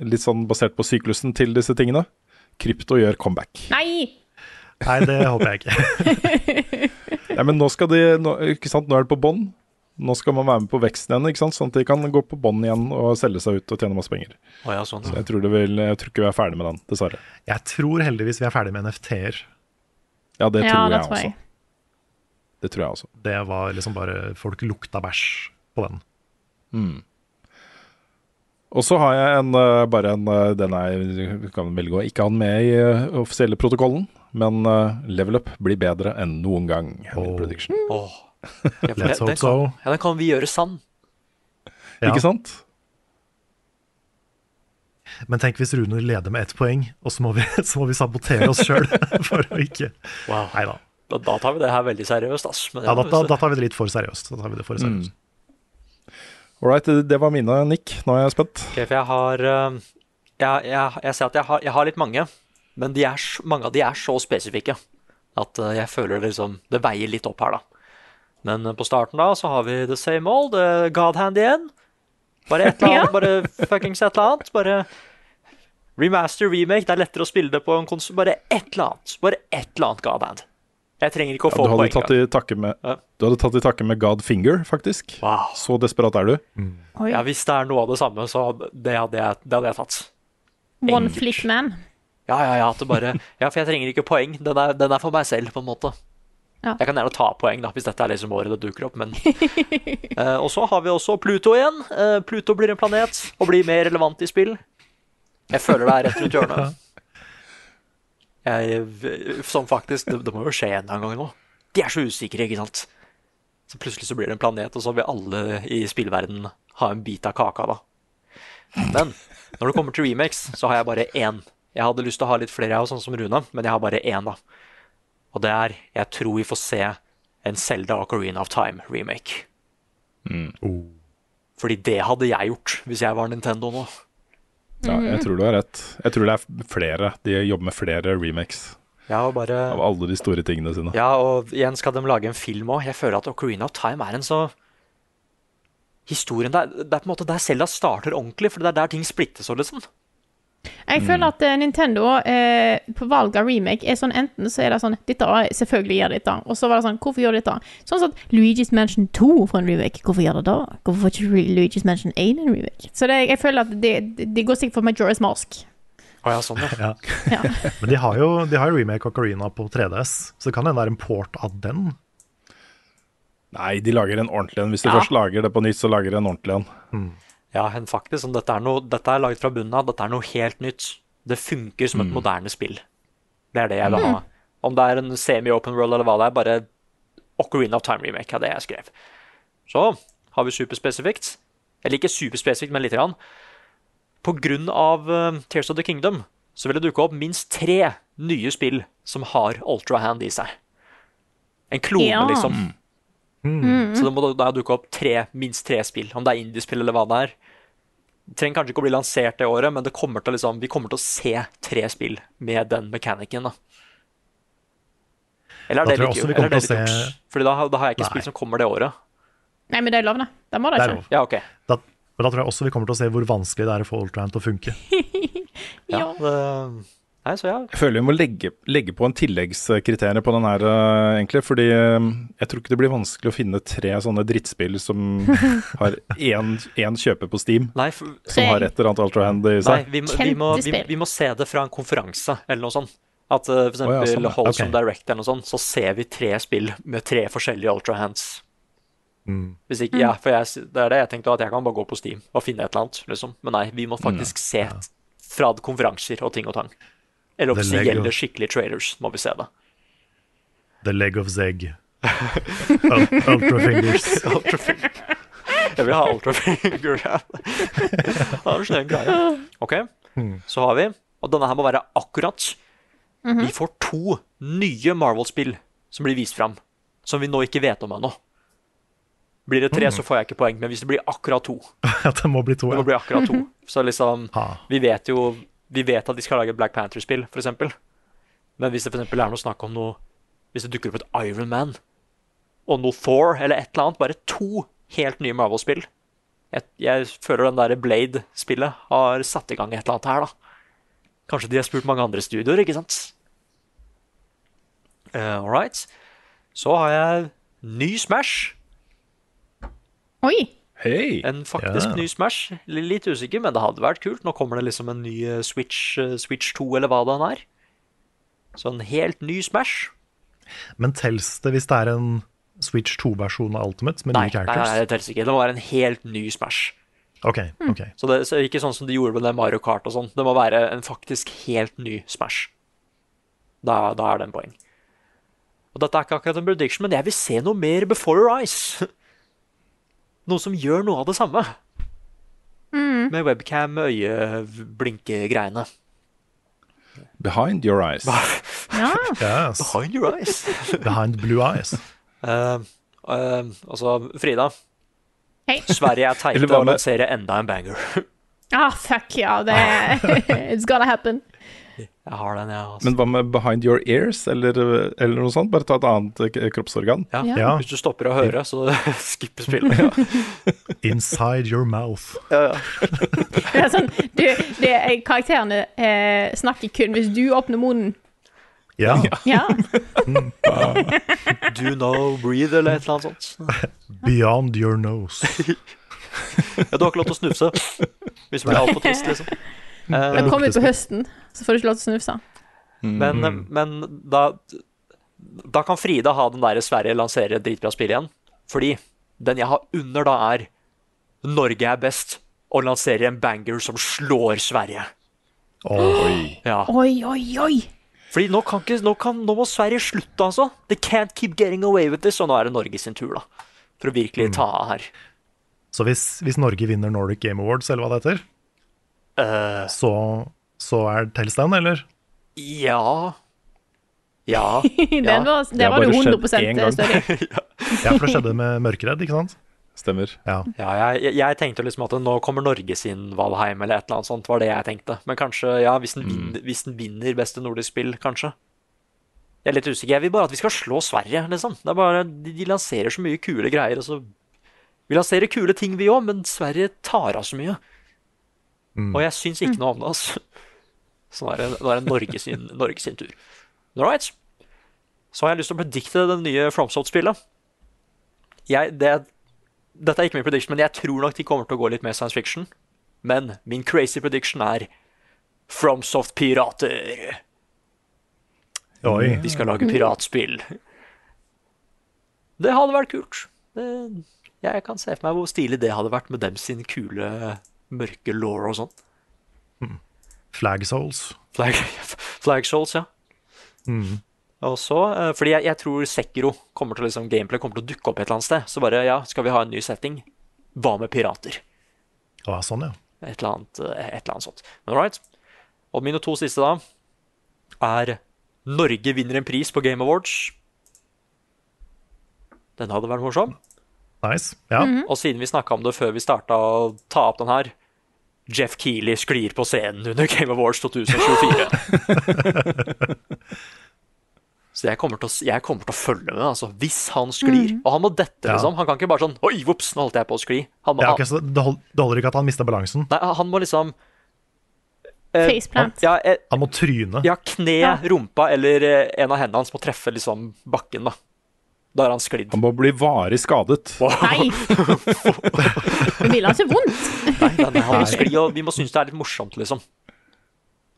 litt sånn basert på syklusen til disse tingene. Krypto gjør comeback. Nei! Nei, det håper jeg ikke. Nei, men nå skal de nå, Ikke sant, nå er det på bånn. Nå skal man være med på veksten igjen, ikke sant? sånn at de kan gå på bånn igjen og selge seg ut og tjene masse penger. Å ja, sånn. Så jeg tror, det vil, jeg tror ikke vi er ferdig med den, dessverre. Jeg tror heldigvis vi er ferdig med NFT-er. Ja, det Ja, tror det jeg tror jeg. også. Det tror jeg også. Det var liksom bare Folk lukta bæsj på den. Og så har jeg en, eh, bare en eh, Den er, vi kan velge å ikke ha den med i eh, offisielle protokollen, men eh, level up blir bedre enn noen gang. er min Oh. prediction. Åh. Ja, for Let's den- hope den so. kan- sånn. Ja, den kan vi gjøre sann. Ja. Ikke sant? Men tenk hvis Rune leder med ett poeng, og så må vi, så må vi sabotere oss sjøl for å ikke Wow. Nei da. Da, da tar vi det her veldig seriøst, ass. Men Ja, da, det- da, da tar vi det litt for seriøst. Da tar vi det for Mm. seriøst. All right, det, det var mine, Nick. Nå er jeg spent. Ok, for jeg har eh, Jeg, jeg, jeg ser at jeg har, jeg har litt mange, men de er, så- mange av de er så spesifikke at eh, jeg føler det liksom Det veier litt opp her, da. Men eh, på starten da så har vi the same old, eh, God hand igjen. Bare et eller annet, bare fuckings et eller annet. Bare remaster, remake, det er lettere å spille det på en konsol. Bare et eller annet. Bare et eller annet God hand. Jeg trenger ikke å Ja, få du, hadde poeng. tatt da. i takke med, Ja. du hadde tatt i takke med Godfinger, faktisk. Wow. Så desperat er du. Oi. Ja, hvis det er noe av det samme, så det hadde jeg, det hadde jeg tatt. One enkelt. flick man. Ja, ja, ja, at det bare Ja, for jeg trenger ikke poeng. Den er, den er for meg selv, på en måte. Ja. Jeg kan gjerne ta poeng, da, hvis dette er liksom året det dukker opp, men eh, Og så har vi også Pluto igjen. Eh, Pluto blir en planet og blir mer relevant i spill. Jeg føler det er rett rundt hjørnet. Jeg, som faktisk det, det må jo skje en eller annen gang nå. De er så usikre, ikke sant. Så plutselig så blir det en planet, og så vil alle i spillverden ha en bit av kaka, da. Men når det kommer til remakes, så har jeg bare én. Jeg hadde lyst til å ha litt flere, jeg også, sånn som Rune, men jeg har bare én, da. Og det er Jeg tror vi får se en Selda Ocarina of Time-remake. Oh. Fordi det hadde jeg gjort hvis jeg var Nintendo nå. Ja, jeg tror du har rett. Jeg tror det er flere. De jobber med flere remakes Ja, og bare av alle de store tingene sine. Ja, og igjen skal de lage en film òg. Jeg føler at Ocarina of Time er en så Historien der, Det er på en måte der Selda starter ordentlig, for det er der ting splittes og liksom. Jeg føler at eh, Nintendo eh, på valg av remake er sånn enten så er det sånn Dette er selvfølgelig gjør dette, og så var det sånn Hvorfor gjør du dette? Sånn som at Luigi's Mansion 2 får en remake. Hvorfor gjør det da? Hvorfor får ikke Re- Luigi's Mansion 1 en remake? Så det, jeg føler at det, det, det går sikkert for Majora's Mask. Å ja, sånn, ja. Ja. Men de har jo de har jo remake Ocarina på 3DS, så det kan hende det er en port av den. Nei, de lager en ordentlig en. Hvis de Ja. først lager det på nytt, så lager de en ordentlig en. Ja, men faktisk, sånn, dette, er noe, dette er laget fra bunnen av. Dette er noe helt nytt. Det funker som et moderne spill. Det er det jeg vil ha. Om det er en semi-open world eller hva det er, bare Ocarina of Time remake er det jeg skrev. Så har vi superspesifikt. Eller ikke superspesifikt, men lite grann. På grunn av eh, Tears of the Kingdom så vil det dukke opp minst tre nye spill som har Ultra Hand i seg. En klone, Ja. liksom. Så det må da- da dukke opp tre, minst tre spill, om det er indiespill eller hva det er. Det trenger kanskje ikke å bli lansert det året, men det kommer til å liksom, vi kommer til å se tre spill med den mekanikken. Da. Eller er Da det tror litt jeg også vi eller er kommer det til å litt se- juks? Fordi da, har- da har jeg ikke Nei. spill som kommer det året. Nei, men det er lov, da. Det må det Det er ikke. lov. Ja, ok. Da, men da tror jeg også vi kommer til å se hvor vanskelig det er å få Ultraman til å funke. Ja, det, nei, så ja. Jeg føler vi må legge, legge på en tilleggskriterium på den her, eh, egentlig. Fordi eh, jeg tror ikke det blir vanskelig å finne tre sånne drittspill som har én én kjøper på Steam, Nei, for, som har et eller annet ultrahand i nei seg. vi, må- vi, må, vi, Kjempespill. vi må se det fra en konferanse eller noe sånt. At uh, Å, for ja, eksempel sånn, ja. Wholesome Ok. Direct eller noe sånt, så ser vi tre spill med tre forskjellige Ultra Hands. Hvis ikke, ja, for jeg, det er det jeg tenkte, at jeg kan bare gå på Steam og finne et eller annet, liksom. Men nei, vi må faktisk se fra konferanser og ting og tang. Eller Det legger jo- offisielle, skikkelige trailers må vi se det. The leg of Zeg. Ul- Ultrafingers. Ultrafinger. Jeg vil ha ultrafinger. ja. Det er en slem greie. Ok, så har vi Og denne her må være akkurat. Vi får to nye Marvel-spill som blir vist fram, som vi nå ikke vet om ennå. Blir det tre, så får jeg ikke poeng, men hvis det blir akkurat to At det må bli to. Det Ja. må bli akkurat to. Så liksom Ha. Vi vet jo Vi vet at de skal lage et Black Panther-spill, for eksempel. Men hvis det for eksempel er noe snakk om noe Hvis det dukker opp et Iron Man og noe Thor eller et eller annet, bare to helt nye Marvel-spill jeg, jeg føler den der Blade-spillet har satt i gang et eller annet her, da. Kanskje de har spurt mange andre studioer, ikke sant? Eh, Uh, All right. Så har jeg ny Smash. Oi! Hei! En faktisk Ja. ny Smash. L- Litt usikker, men det hadde vært kult. Nå kommer det liksom en ny eh, Switch, eh, Switch 2, eller hva det er. Så en helt ny Smash. Men tels det hvis det er en Switch 2-versjon av Ultimate med Nei, nye nei, nei, characters? det teller ikke. Det var en helt ny Smash. Ok, ok. Så det så ikke sånn som de gjorde med det Mario Kart og sånn. Det må være en faktisk helt ny Smash. Da, da er det en poeng. Og dette er ikke akkurat en prediction, men jeg vil se noe mer Before Your Eyes. Noe som gjør noe av det samme. Med webcam, øyeblinke-greiene. Behind your eyes. Ja. Yes. Behind your eyes. Behind blue eyes. Eh, eh, altså, Frida. Hei. Sverige er teite Eller var og det- lanserer enda en banger. Ah, fuck, ja. Det It's gonna happen. Jeg har den, jeg. Altså. Men hva med behind your ears, eller, eller noe sånt? Bare ta et annet eh, kroppsorgan. ja. Ja. Ja. Hvis du stopper å høre, så skipp spillet. Inside your mouth. Det er sånn, du, det er, karakterene eh, snakker kun hvis du åpner munnen. Ja. Ja. Do no breathe, eller et eller annet sånt. Beyond your nose. Ja, du har ikke lov til å snufse hvis du blir altfor trist, liksom. Eh, Når du kommer ut på høsten, så får du ikke lov til å snufse. men men da, da kan Frida ha den der Sverige lanserer et dritbra spill igjen. Fordi den jeg har under da, er Norge er best og lanserer en banger som slår Sverige. Oi. Ja. Oi, oi, oi! Fordi nå, kan ikke, nå, kan, nå må Sverige slutte, altså. They can't keep getting away with this. Og nå er det Norge sin tur, da. For å virkelig ta av her. Så hvis, hvis Norge vinner Nordic Game Awards, eller hva det heter, Eh, så, så er tels den, eller? ja Ja. Ja. Den var, Det har den var du bare skjedd 100 én gang. stødig. Ja, for det skjedde med Mørkeredd, ikke sant? Stemmer. Ja. Ja, jeg, jeg- jeg tenkte liksom at nå kommer Norge sin Valheim eller et eller annet sånt, var det jeg tenkte. Men kanskje, ja, hvis den, vinner, hvis den vinner beste nordisk spill, kanskje. Jeg er litt usikker. Jeg vil bare at vi skal slå Sverige, liksom. Det er bare, de, de lanserer så mye kule greier, og så Vi lanserer kule ting, vi òg, men Sverige tar av så mye. Og jeg syns ikke noe om det, altså. Så nå er det, nå er det Norge, sin, Norge sin tur. All right. Så har jeg lyst til å predikte det nye FromSoft-spillet. Jeg, det dette er ikke min prediction, men jeg tror nok de kommer til å gå litt mer science fiction. Men min crazy prediction er FromSoft pirater. Oi. De skal lage piratspill. Det hadde vært kult. Det, jeg kan se for meg hvor stilig det hadde vært med dem sin kule mørke law og sånn. Flag Souls. Flag, flag Souls, ja. Og så, eh, fordi jeg, jeg tror Sekiro kommer til å liksom, gameplay kommer til å dukke opp et eller annet sted. Så bare, ja, skal vi ha en ny setting? Hva med pirater? Å, sånn, ja. Et eller annet, eh, et eller annet sånt. Men all right. Og mine to siste, da, er Norge vinner en pris på Game Awards. Den hadde vært morsom. Nice. Ja. Og siden vi snakka om det før vi starta å ta opp den her Jeff Keeley sklir på scenen under Game Awards 2024. Så jeg kommer, til å, s- jeg kommer til å følge med, altså. Hvis han sklir. Og han må dette, Mm. Ja. liksom. Han kan ikke bare sånn Oi, vops, nå holdt jeg på å skli. Han må, Det, er han, ikke så, det hold- det holder ikke at han mister balansen. nei, han må liksom eh, Faceplant. Ja, eh, Han må tryne. Ja, kne, Ja. rumpa eller eh, en av hendene hans må treffe liksom bakken, da. Da er han sklidd. Han må bli varig skadet. Nei! Det vil ha ikke vondt. Nei, nei, nei, han må skli, og vi må synes det er litt morsomt, liksom.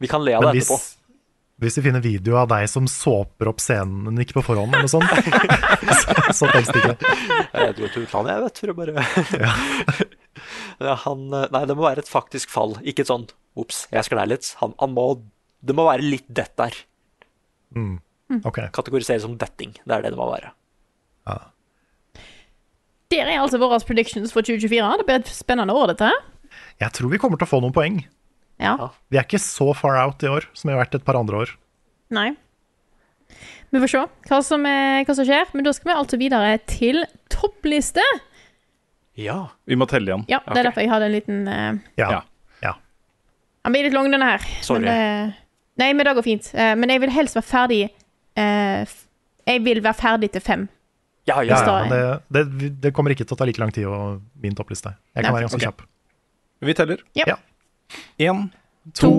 Vi kan le av Men det hvis, etterpå. hvis vi finner video av deg som såper opp scenen ikke på forhånd, eller sånn, så- så tels det ikke. Jeg dro til utlandet, jeg, vet du. Bare. Ja, han, eh, nei, det må være et faktisk fall. Ikke et sånn ops, jeg sklei litt. Han, han må Det må være litt dett der. Ok. Kategoriseres som detting. Det er det det må være. Der er altså våre predictions for 2024. Det blir et spennende år, dette. her. Jeg tror vi kommer til å få noen poeng. Ja. Vi er ikke så far out i år som vi har vært et par andre år. Nei. Vi får se hva som, eh, hva som skjer. Men da skal vi altså videre til toppliste. Ja. Vi må telle igjen. Ja, det er derfor jeg hadde en liten eh, Ja. Ja. Han blir litt lang, denne her. Sorry. Men, eh, nei, men det går fint. Eh, men jeg vil helst være ferdig eh, f- Jeg vil være ferdig til fem. Ja, ja, ja, ja ja. men det, det, vi- det kommer ikke til å ta like lang tid å min toppliste. Jeg Nei, kan være ganske ok. kjapp. Vi teller. Ja. Ja. Én, To,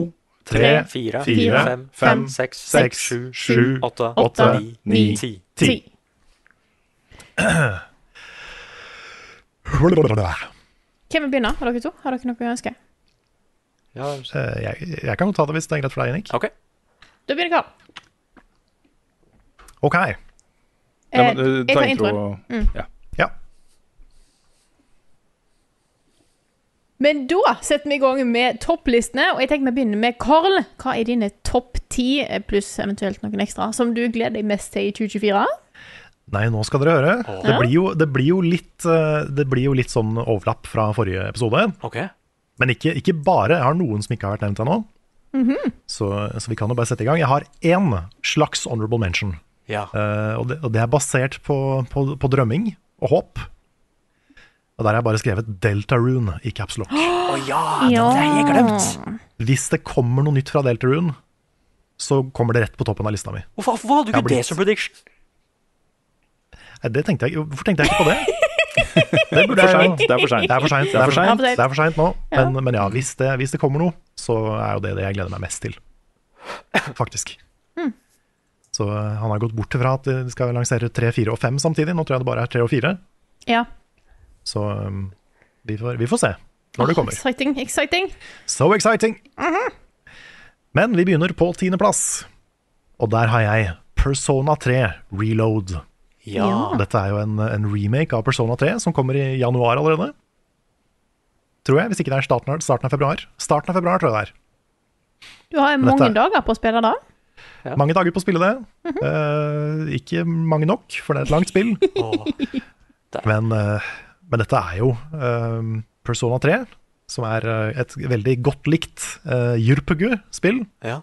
Tre, Fire, fire, fem, fem, seks, seks, sju, sju, åtte, åtte, ni, ni, ti. ti. Eh, Hvem vil begynne av dere to? Har dere noe å ønske? Ja, Eh, Jeg, jeg kan jo ta det hvis det er greit for deg, Nick. OK. Da begynner Karl. OK. Eh, Ja, men, eh, ta jeg tar intro- introen. Ja. Ja. Men da setter vi i gang med topplistene, og jeg tenker vi begynner med Karl. Hva er dine topp ti, eh, pluss eventuelt noen ekstra, som du gleder deg mest til i 2024? Nei, nå skal dere høre. Det, blir jo, det, blir jo litt, eh, det blir jo litt sånn overlapp fra forrige episode. ok. Men ikke, ikke bare. Jeg har noen som ikke har vært nevnt ennå. så, så vi kan jo bare sette i gang. Jeg har én slags honorable mention. Ja. Eh, og, det, og det er basert på, på, på drømming og håp. Og der har jeg bare skrevet Deltarune i caps lock. Å ja, det har jeg glemt! Hvis det kommer noe nytt fra Deltarune, så kommer det rett på toppen av lista mi. Hvorfor, hvorfor hadde du Jeg har ikke det blitt- som prediction? Nei, Eh, Det tenkte jeg, ikke- hvorfor tenkte jeg ikke på det? Det burde For jeg sent. jo Det er for Det er for seint. seint. Det er for sent. Det er for sent nå. Men, men ja, hvis det, hvis det kommer noe, så er jo det det jeg gleder meg mest til. Faktisk. Hmm. Så eh, han har gått bort fra at de skal lansere tre, fire og fem samtidig. Nå tror jeg det bare er tre og fire. Ja. Så um, vi får, vi får se når det kommer. Exciting, exciting. So exciting! Men vi begynner på tiendeplass. Og der har jeg Persona 3 Reload. Ja. Ah, Dette er jo en, en remake av Persona 3 som kommer i januar allerede. Tror jeg, hvis ikke det er starten av, starten av februar. Starten av februar tror jeg det er. Du har jo Dette mange er- dager på å spille da. Ja. Mange dager på å spille det. Eh, ikke mange nok, for det er et langt spill. Å, Men, eh, men dette er jo eh, Persona 3, som er eh, et veldig godt likt uh, Jurpugu-spill. ja.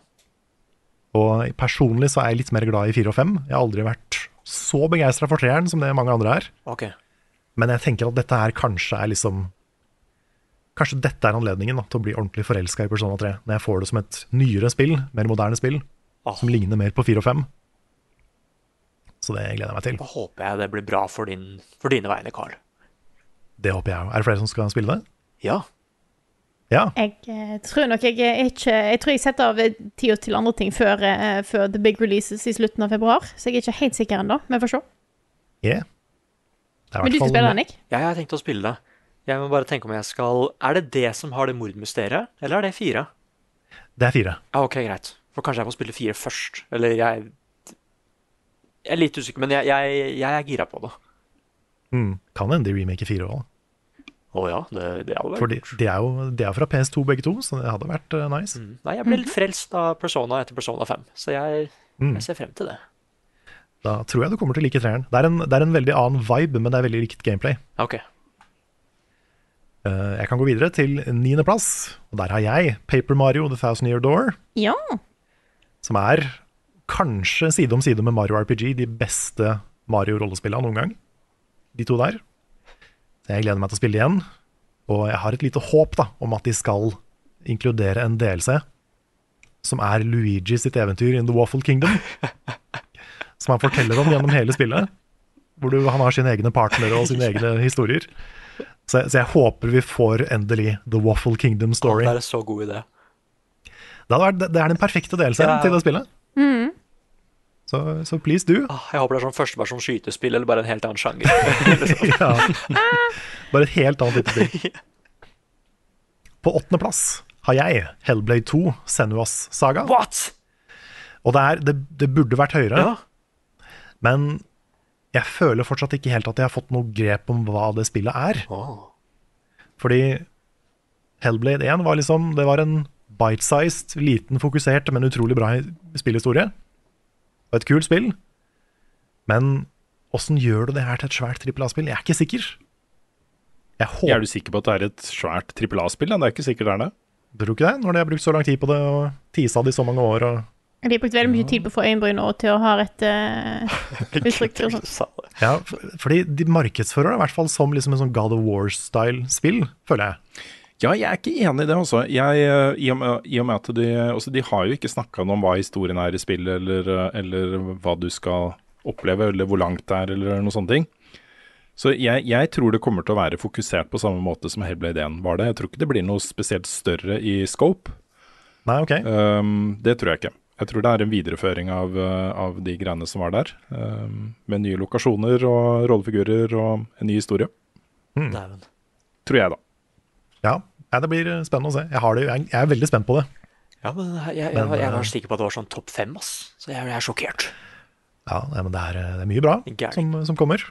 Og personlig så er jeg litt mer glad i 4 og 5. Jeg har aldri vært så begeistra for treeren som det mange andre er. OK. Men jeg tenker at dette her kanskje er liksom Kanskje dette er anledningen da, til å bli ordentlig forelska i Persona 3. Når jeg får det som et nyere spill, mer moderne spill, Åh. som ligner mer på 4 og 5. Så det gleder jeg meg til. Da håper jeg det blir bra for, din, for dine vegne, Carl. Det håper jeg òg. Er det flere som skal spille det? Ja. Ja. Jeg eh, tror nok jeg er ikke Jeg tror jeg setter av eh, tida til andre ting før, eh, før The Big Releases i slutten av februar, så jeg er ikke helt sikker ennå. Vi får se. Yeah. Det er i Men du skal hvert fall- spille den, Nick? Ja, jeg har tenkt å spille det. Jeg må bare tenke om jeg skal Er det det som har det mordmysteriet, eller er det fire? Det er fire. Ja, ok, greit. For kanskje jeg må spille fire først. Eller jeg Jeg er litt usikker, men jeg, jeg, jeg er gira på det. Mm. Kan hende de remaker fire òg. Å ja, det, det hadde vært For de, de er jo de er fra PS2 begge to, så det hadde vært eh, nice. Mm. Nei, jeg ble litt frelst av Persona etter Persona 5, så jeg, Mm. jeg ser frem til det. Da tror jeg du kommer til å like treeren. Det er, en, det er en veldig annen vibe, men det er veldig likt gameplay. Ok. Eh, Jeg kan gå videre til niendeplass, og der har jeg Paper Mario The Thousand Year Door, Ja. som er kanskje side om side med Mario RPG de beste Mario-rollespillene noen gang. De to der. Så Jeg gleder meg til å spille igjen, og jeg har et lite håp da, om at de skal inkludere en DLC som er Luigi sitt eventyr in The Waffle Kingdom, som han forteller om gjennom hele spillet, hvor du, han har sine egne partnere og sine egne historier. Så, så jeg håper vi får endelig The Waffle Kingdom Story. Det er en så god idé. Det, hadde vært, det er den perfekte delelsen Ja. til det spillet. Så, så please do. Ah, Jeg håper det er sånn førsteperson skytespill, eller bare en helt annen sjanger. ja. Bare et helt annet type spill. På åttendeplass har jeg Hellblade 2, Senuas saga. What?! Og det, er, det, det burde vært høyere, Ja. men jeg føler fortsatt ikke helt at jeg har fått noe grep om hva det spillet er. Åh. Ah. Fordi Hellblade 1 var liksom Det var en bite-sized, liten, fokusert, men utrolig bra spillhistorie. Og et kult spill. Men åssen gjør du det her til et svært trippel A-spill? Jeg er ikke sikker. Jeg Er håper du sikker på at det er et svært trippel A-spill? da? Det er ikke sikkert det er det. Tror du ikke det, når de har brukt så lang tid på det og tisa det i så mange år. Og... De har brukt veldig mye tid på å få øyenbryn og til å ha rett eh, uttrykk. og sånn. sånt. Sa det. Ja, f- fordi de markedsfører det i hvert fall som liksom en sånn God of War-style-spill, føler jeg. Ja, jeg er ikke enig i det, altså. Jeg, eh, i, og med, I og med at de altså, De har jo ikke snakka noe om hva historien er i spillet, eller, eh, eller hva du skal oppleve, eller hvor langt det er, eller noen sånne ting. Så jeg, jeg tror det kommer til å være fokusert på samme måte som Hellblade 1 var det. Jeg tror ikke det blir noe spesielt større i scope. Nei, ok. Um, det tror jeg ikke. Jeg tror det er en videreføring av, eh, av de Ehm, greiene som var der. Um, med nye lokasjoner og rollefigurer og en ny historie. Mm. Dæven. tror jeg, da. Ja, ja, det blir eh, spennende å se. Jeg, har det, jeg jeg er veldig spent på det. Ja, men jeg, jeg, Men, jeg, jeg eh, var sikker på at det var sånn topp fem, ass. Så jeg, jeg er sjokkert. Ja, nei, men det er, eh, det er Mm. mye bra Gærent. som, som kommer.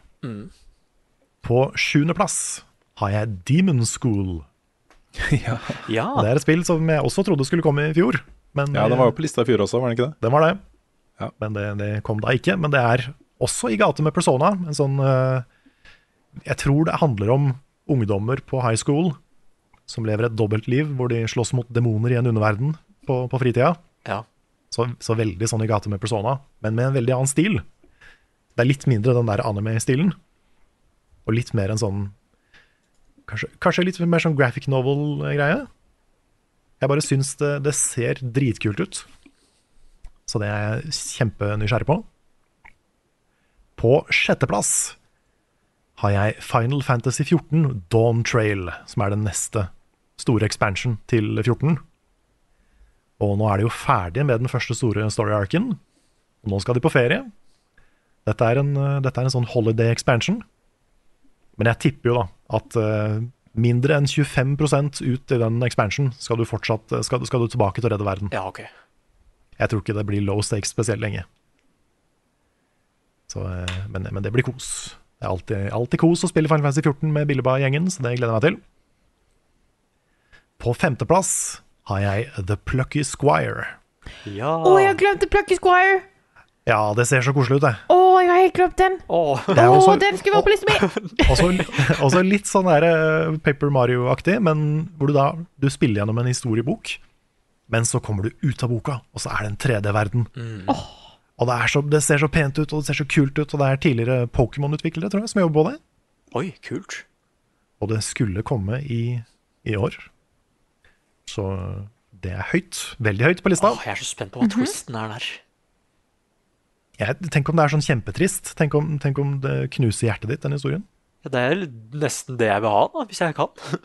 På sjuendeplass har jeg Demon School. Ja, Og Det er et spill som jeg også trodde skulle komme i fjor. Men Ja, Den var jo på lista i fjor også, var den ikke det? Den var det. Ja. Men det, det kom da ikke. Men det er også i gate med Persona. En sånn eh, Jeg tror det handler om ungdommer på high school som lever et dobbeltliv, hvor de slåss mot demoner i en underverden på, på fritida. ja. Så, så veldig sånn i gate med Persona, men med en veldig annen stil. Det er litt mindre den der anime-stilen, og litt mer en sånn Kanskje, kanskje litt mer sånn graphic novel-greie. Jeg bare syns det, det ser dritkult ut. Så det er jeg kjempenysgjerrig på. På sjetteplass har jeg Final Fantasy 14 Dawn Trail, som er den neste store expansion til 14. Og nå er de jo ferdige med den første store story-arken. Og nå skal de på ferie. Dette er en, eh, dette er en sånn holiday expansion. Men jeg tipper jo da at eh, mindre enn 25 ut i den expansion skal du, fortsatt, eh, skal, du- skal du tilbake til å redde verden. ja, ok. Jeg tror ikke det blir low stakes spesielt lenge. Så, eh, men, men det blir kos. Det er alltid, alltid kos å spille Final Fantasy 14 med Billeba-gjengen, så det gleder jeg meg til. På femteplass har jeg The Plucky Squire. Ja. Å, jeg har glemt The Plucky Squire! Ja, det ser så koselig ut, det. Å, jeg har helt glemt den! Åh, Det er Å, også, den skulle være på lista mi! også, også litt sånn der, eh, Paper Mario-aktig, men hvor du da du spiller gjennom en historiebok, men så kommer du ut av boka, og så er det en 3D-verden. Og det, er så, det ser så pent ut, og det ser så kult ut, og det er tidligere Pokémon-utviklere tror jeg, som jobber på det. Oi, kult. Og det skulle komme i, i år. Så det er høyt. Veldig høyt på lista. Åh, Ah, jeg er så spent Mhm. på hva twisten er der. Jeg, tenk om det er sånn kjempetrist. Tenk om, tenk om det knuser hjertet ditt, den historien. Ja, det er nesten det jeg vil ha, da, hvis jeg kan. Ja,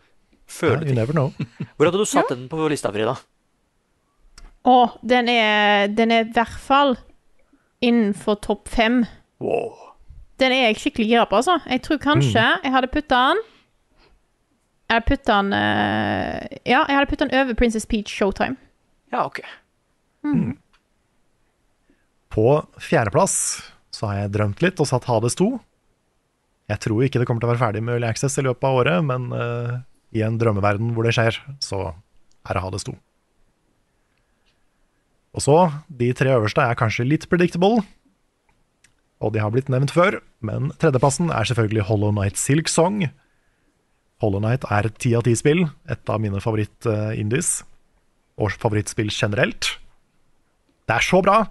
Føler you never know. ting. Hvor hadde du satt den på lista, Frida? Å, den er Den er i hvert fall innenfor topp fem. Wow. Den er jeg skikkelig gira på, altså. Jeg tror kanskje Mm. jeg hadde putta den Jeg hadde putta den eh, Ja, jeg hadde putta den over Princess Peach Showtime. Ja, ok. På fjerdeplass så har jeg drømt litt og satt Hades 2. Jeg tror ikke det kommer til å være ferdig med Early Access i løpet av året, men eh, i en drømmeverden hvor det skjer, så er det Hades 2. Og så, de tre øverste er kanskje litt predictable, og de har blitt nevnt før, men tredjeplassen er selvfølgelig Hollow Knight Silk Song. Hollow Knight er et ti av ti-spill, et av mine favoritt-indies, og favorittspill generelt. Det er så bra!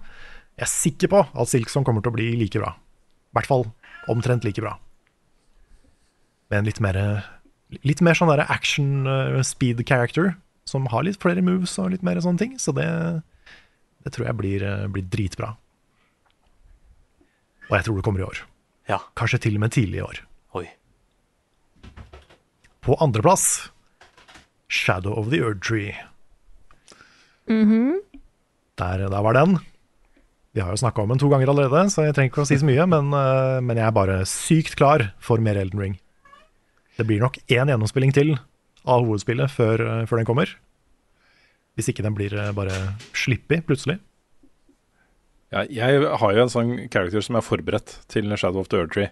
Jeg er sikker på at Silkson kommer til å bli like bra. I hvert fall omtrent like bra. Med en litt mer, litt mer sånn der action eh, speed character, som har litt flere moves og litt mer sånne ting. Så det, det tror jeg blir, eh, blir dritbra. Og jeg tror det kommer i år. Ja. Kanskje til og med tidlig i år. Oi. På andreplass Shadow of the Earth Tree. der, der var den. Vi har jo snakka om den to ganger allerede, så jeg trenger ikke å si så mye. Men, eh, men jeg er bare sykt klar for mer Elden Ring. Det blir nok én gjennomspilling til av hovedspillet før, eh, før den kommer. Hvis ikke den blir eh, bare slippig plutselig. Ja, jeg har jo en sånn character som er forberedt til Shadow of the Earth Tree.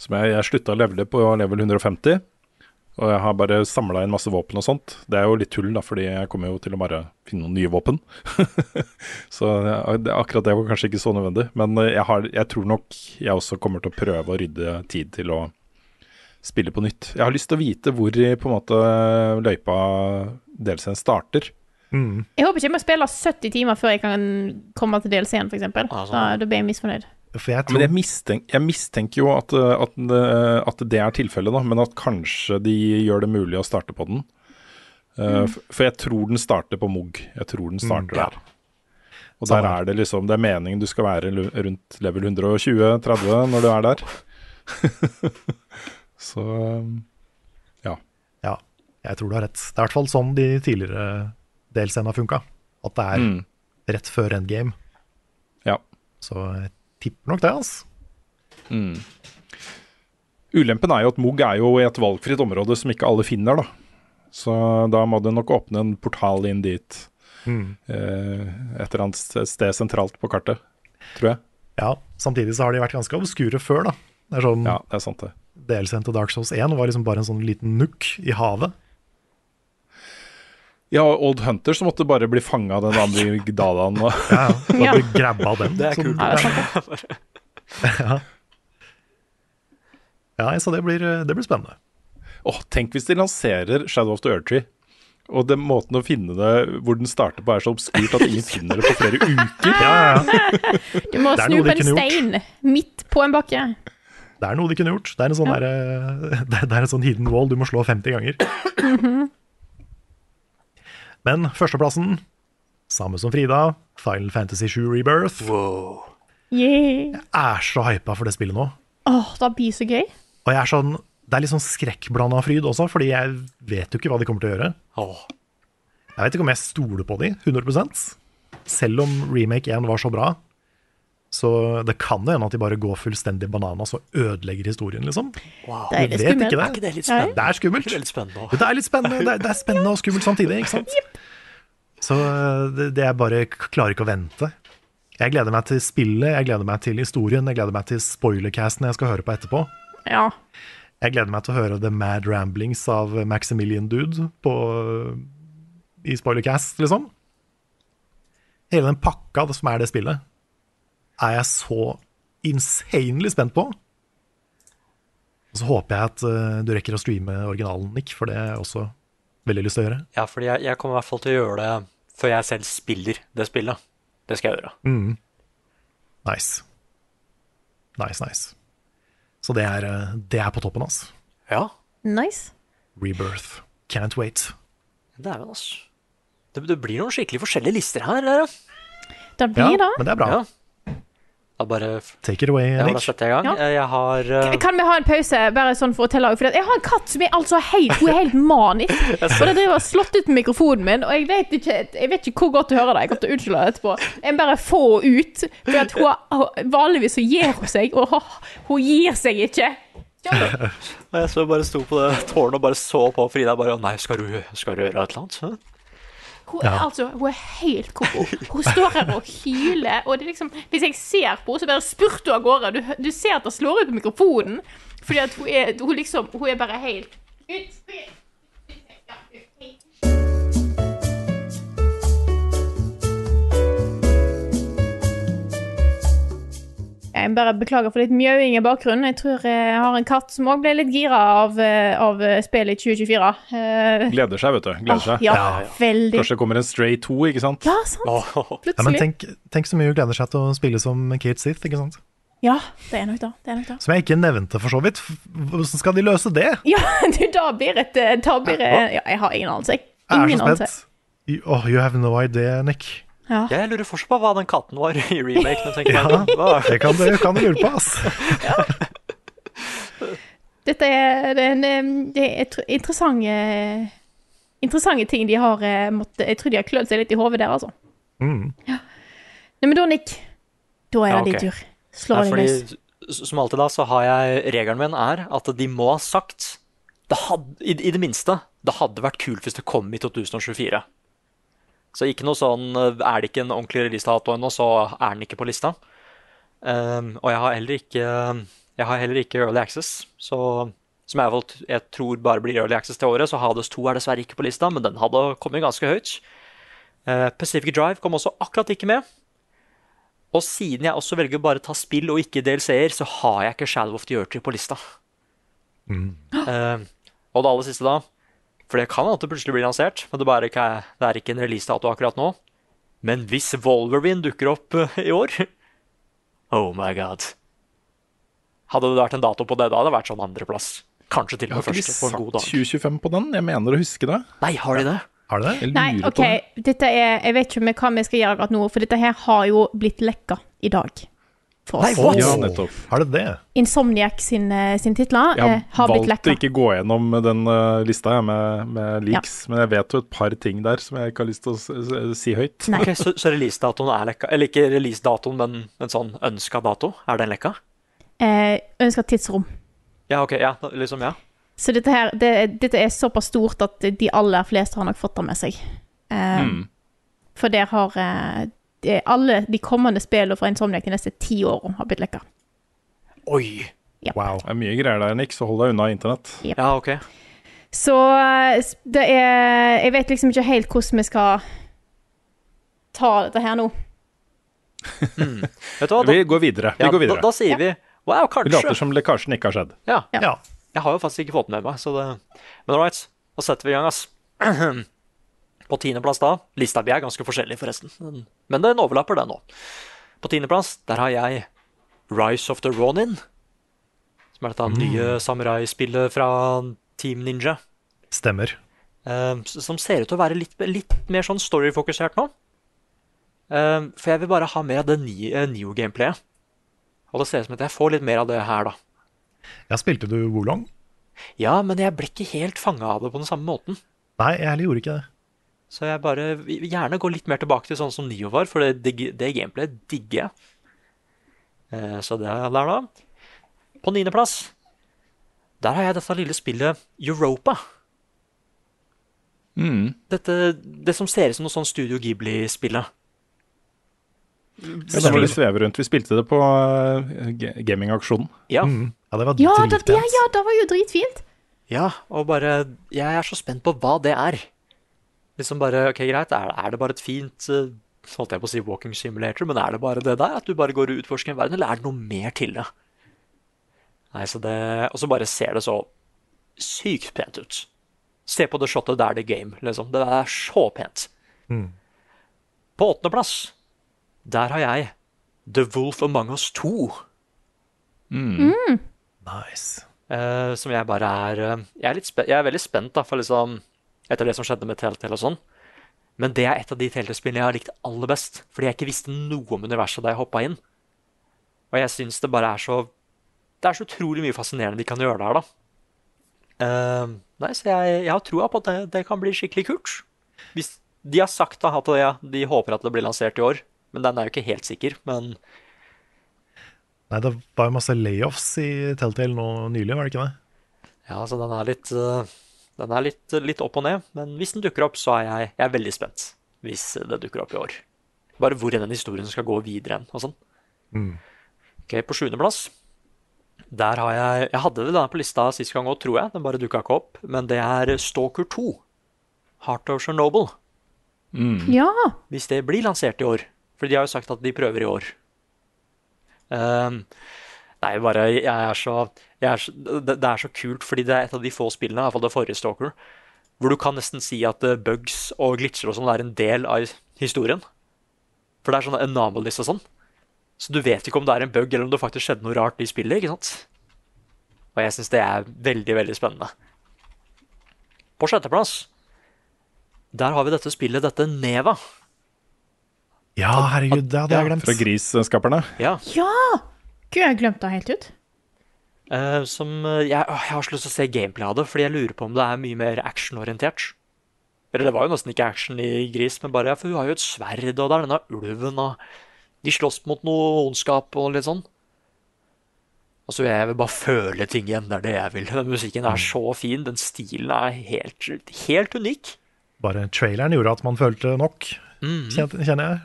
Som jeg, jeg slutta å levele på level 150, og jeg har bare samla inn masse våpen og sånt. Det er jo litt tull, da, fordi jeg kommer jo til å bare finne noen nye våpen. så jeg, det, akkurat det var kanskje ikke så nødvendig. Men eh, jeg, har, jeg tror nok jeg også kommer til å prøve å rydde tid til å spille på nytt. Jeg har lyst til å vite hvor i på en måte løypa DLC-en starter. Jeg håper ikke jeg må spille 70 timer før jeg kan komme til DLC-en, f.eks. Ah, sånn. Da, da blir jeg misfornøyd. For jeg Ja, Men tror jeg, mistenk, jeg mistenker jo at, uh, at, den, uh, at det er tilfellet, da, men at kanskje de gjør det mulig å starte på den. Uh, f- For jeg tror den starter på Mugg. Jeg tror den starter Mm. ja. der. Og der Samme. er det liksom Det er meningen du skal være lu- rundt level 120-30 når du er der. Så um, Ja, jeg tror du har rett. Det er i hvert fall sånn de tidligere DLC-ene har funka. At det er Mm. rett før endgame. ja. Så jeg tipper nok det, altså. Ulempen er jo at Mugg er jo i et valgfritt område som ikke alle finner, da. Så da må du nok åpne en portal inn dit Mm. eh, et eller annet sted- sted sentralt på kartet, tror jeg. Ja, samtidig så har de vært ganske obskure før, da. Det er sånn, Ja, det er sant, det. Delscenen til Dark Souls 1 var liksom bare en sånn liten nukk i havet. Ja, og Old Hunter som måtte bare bli fanga av den andre dadaen. og- Ja, ja. Da Ja. ble grabba den. Det er som- kult. Ja, det er sant. Ja, så det blir, det blir spennende. Åh, tenk hvis de lanserer Shadow of the Earthtree, og den måten å finne det hvor den starter på, er så obskurt at ingen finner det på flere uker. Ja, ja, ja. Du må Det er snu noe på de en kunne gjort. stein midt på en bakke. Det er noe de kunne gjort. Det er en sånn, Ja. derre- det er- det er en sånn hidden wall du må slå 50 ganger. Men førsteplassen, samme som Frida, Final Fantasy 7 Rebirth. Yeah. Jeg er så hypa for det spillet nå. Åh, det blir så gøy. Og jeg er sånn, det er litt sånn skrekkblanda fryd også, fordi jeg vet jo ikke hva de kommer til å gjøre. Åh. Jeg vet ikke om jeg stoler på de, 100 Selv om remake 1 var så bra. Så det kan jo hende at de bare går fullstendig bananas og ødelegger historien, liksom. Wow. Det er Vi litt vet skummelt. ikke Er ikke det litt Nei. spennende? Det er skummelt. Det er litt spennende Det er litt spennende, det er, det er spennende og skummelt samtidig, ikke sant? Så eh, det, det jeg bare k- klarer ikke å vente. Jeg gleder meg til spillet, jeg gleder meg til historien, jeg gleder meg til spoilercasten jeg skal høre på etterpå. Ja. Jeg gleder meg til å høre The Mad Ramblings av Maximilian Dude på, i Spoilercast, liksom. Hele den pakka som er det spillet, er jeg så insanely spent på. Og så håper jeg at eh, du rekker å streame originalen, Nick, for det har jeg også veldig lyst til å gjøre. Ja, fordi jeg, jeg kommer i hvert fall til å gjøre det før jeg selv spiller det spillet. Det skal jeg gjøre. Nice. Nice, nice. Så det er, eh, det er på toppen, altså. Ja, Nice. Rebirth. Can't wait. dæven, altså. Det, det blir noen skikkelig forskjellige lister her. Der, ja. Det blir det. men det er bra. Ja. Da bare f- Take it away, ja, da Nick. setter jeg i gang. Ja. Eh, Jeg har eh, Kan vi ha en pause, bare sånn for å telle av? For jeg har en katt som er altså helt, hun er helt manisk. Og det driver og slått ut mikrofonen min, og jeg vet ikke, jeg vet ikke hvor godt du hører det. Jeg kommer til å unnskylde det etterpå. Jeg bare får henne ut. For at hun, har- vanligvis så gir hun seg, og hun gir seg ikke. Og jeg så bare sto på det tårnet og bare så på Frida bare Nei, skal du, skal du gjøre et eller annet? Hæ? Hun, er altså, hun er helt koko. Hun står her og hyler. Og det er liksom, hvis jeg ser på henne, så bare spurter hun av gårde. Du, hø- du ser at det slår ut mikrofonen. Fordi at hun er, hun liksom, hun er bare helt ut. Jeg bare beklager for litt mjauing i bakgrunnen. Jeg tror jeg har en katt som òg ble litt gira av, eh, av spillet i 2024. Gleder seg, vet du. Gleder seg. ja, veldig. Kanskje det kommer en Stray 2, ikke sant? Ja, sant. Åh, Ja, men Plutselig. tenk, tenk så mye hun gleder seg til å spille som Kate Sith, ikke sant? Ja, det er nok det. det, er nok det. Som jeg ikke nevnte, for så vidt. F- Hvordan skal de løse det? Ja, du, da blir et eh, da blir, eh, ja, Jeg har ingen anelse. jeg. Jeg er Ingen så anelse. spent. You- Oh, you have no idea, Nick. Ja. Jeg lurer fortsatt på hva den katten var i remaken. og tenker Ja. bare, hva- Det kan du kan du lure på, ass. Dette er, det er en eh, det er tr- interessante Interessante ting de har eh, måttet Jeg tror de har klødd seg litt i hodet der, altså. Mm. Nei, men da, Nick, da er det Ja, ok. din tur. Slå Nei, deg løs. fordi, s- Som alltid, da, så har jeg Regelen min er at de må ha sagt det hadde, i, I det minste. Det hadde vært kult hvis det kom i 2024. Så ikke noe sånn eh, Er det ikke en ordentlig releasedato ennå, så er den ikke på lista. Ehm, og jeg har heller ikke Jeg har heller ikke Early Access, så som jeg, valgt, jeg tror bare blir Early Access til året, så Hades 2 er dessverre ikke på lista, men den hadde kommet ganske høyt. Eh, Pacific Drive kom også akkurat ikke med. Og siden jeg også velger bare å ta spill og ikke DLC-er, så har jeg ikke Shadow of the Earthtree på lista. Mm. Eh, og det aller siste, da For det kan alltid plutselig bli lansert, men det, bare ikke er, det er ikke en releasedato akkurat nå. Men hvis Wolverine dukker opp eh, i år Oh my god. Hadde det vært en dato på det, da hadde det vært sånn andreplass. Kanskje til Jeg og har ikke med de første på sagt en god dag. 2025 på den? Jeg mener å huske det. Nei, har de det? Har du det? Jeg lurer Nei, OK. på det. Dette er, jeg vet ikke med hva vi skal gjøre akkurat nå, for dette her har jo blitt lekka i dag. For Nei, oss. what? Ja, nettopp. Har du det? Insomniac sin, eh, sin titler Jeg eh, har har valgt blitt å lekka. ikke gå gjennom den eh, lista jeg, med, med leaks, men jeg vet jo et par ting der som jeg ikke har lyst til å s- s- si høyt. Nei. Ok, så, så releasedatoen er lekka? Eller ikke releasedatoen, men en sånn ønska dato? Er den lekka? Eh, ønsker tidsrom. Ja, ok, ja, liksom, ja. Så dette, her, det, dette er såpass stort at de aller fleste har nok fått det med seg. Eh, Mm. For der har eh, det- alle de kommende spillene fra Insomniac de neste ti årene har blitt lekka. Oi! Wow. Det er mye greier der, Nick, så hold deg unna internett. Ja, ok. Så eh, s- det er Jeg vet liksom ikke helt hvordan vi skal ta dette her nå. Vet du hva, da, Vi går videre. Vi ja, går da, videre. da sier vi wow, Vi later kanskje. som lekkasjen ikke har skjedd. Ja, Ja. jeg har jo faktisk ikke fått med meg, så det Men all right, da setter vi i gang, ass. På tiendeplass da Lista mi er ganske forskjellig, forresten. Men- Men den overlapper, den nå. På tiendeplass der har jeg Rise of the Ronin. Som er dette Mm. nye samuraispillet fra Team Ninja. Stemmer. eh, s- som ser ut til å være litt, litt mer sånn storyfokusert nå. Eh, for jeg vil bare ha mer av det nye, eh, new gameplayet. Og det ser ut som at jeg får litt mer av det her, da. Ja, spilte du Wolong? Ja, men jeg ble ikke helt fanga av det på den samme måten. Nei, jeg heller gjorde ikke det. Så jeg bare vil gjerne går litt mer tilbake til sånn som Nio var, for det, det, det gameplayet digger jeg. Eh, Så det er der, da. På niendeplass, der har jeg dette lille spillet Europa. Mm. Dette, det som ser ut som noe sånn Studio Ghibli-spillet. Ja, da var det svever rundt. Vi spilte det på eh, ga- gamingaksjonen. Ja. Mm. Ja, det var Ja, det, dritpent. det, ja, det var jo dritfint. ja, og bare Jeg er så spent på hva det er. Liksom bare OK, greit, er, er det bare et fint eh, Holdt jeg på å si walking simulator, men er det bare det der? At du bare går og utforsker en verden, eller er det noe mer til det? Nei, så det Og så bare ser det så sykt pent ut. Se på det shotet der det er game, liksom. Det er så pent. Mm. På åttendeplass, der har jeg The Wolf Among Us 2. Nice. Eh, som jeg bare er eh, jeg er, litt spe jeg er veldig spent da, for liksom, etter det som skjedde med Telltale og sånn. Men det er et av de Telltale-spillene jeg har likt aller best. Fordi jeg ikke visste noe om universet da jeg hoppa inn. Og jeg syns det bare er så Det er så utrolig mye fascinerende de kan gjøre der, da. Eh, nei, så jeg, jeg har troa på at det, det kan bli skikkelig kult. Hvis de har sagt da at ja, de håper at det blir lansert i år. Men den er jo ikke helt sikker. Men Nei, det var jo masse layoffs i Telltale nå nylig, var det ikke det? Ja, så den er litt eh, Den er litt, litt opp og ned, men hvis den dukker opp, så er jeg, jeg er veldig spent. Hvis det dukker opp i år. Bare hvor den historien skal gå videre hen og sånn. Ok, På sjuendeplass Der har jeg Jeg hadde vel denne på lista sist gang òg, tror jeg. Den bare dukka ikke opp. Men det er Stalker 2. Heart of Chernobyl. Ja. Hvis det blir lansert i år. For de har jo sagt at de prøver i år. Ehm, nei, bare Jeg er så, jeg er så det, det er så kult, fordi det er et av de få spillene, i hvert fall det forrige Stalker, hvor du kan nesten si at eh, bugs og glitcher og sånn er en del av historien. For det er sånne anomalies og sånn. Så du vet ikke om det er en bug, eller om det faktisk skjedde noe rart i spillet. ikke sant? Og jeg syns det er veldig, veldig spennende. På sjetteplass, der har vi dette spillet, dette Neva. Ja, herregud, det hadde jeg glemt. Fra Grisskaperne. Ja, Ja! Gud, jeg glemte det helt ut. Eh, som eh, jeg, åh, jeg har så lyst til å se gameplay av det, fordi jeg lurer på om det er mye mer actionorientert. Eller det var jo nesten ikke action i Gris, men bare ja, for hun har jo et sverd, og det er denne ulven, og de slåss mot noe ondskap og litt sånn. Altså, jeg vil bare føle ting igjen, det er det jeg vil. Den musikken er så fin, den stilen er helt, helt unik. Bare traileren gjorde at man følte nok, Mm. kjente- kjenner jeg.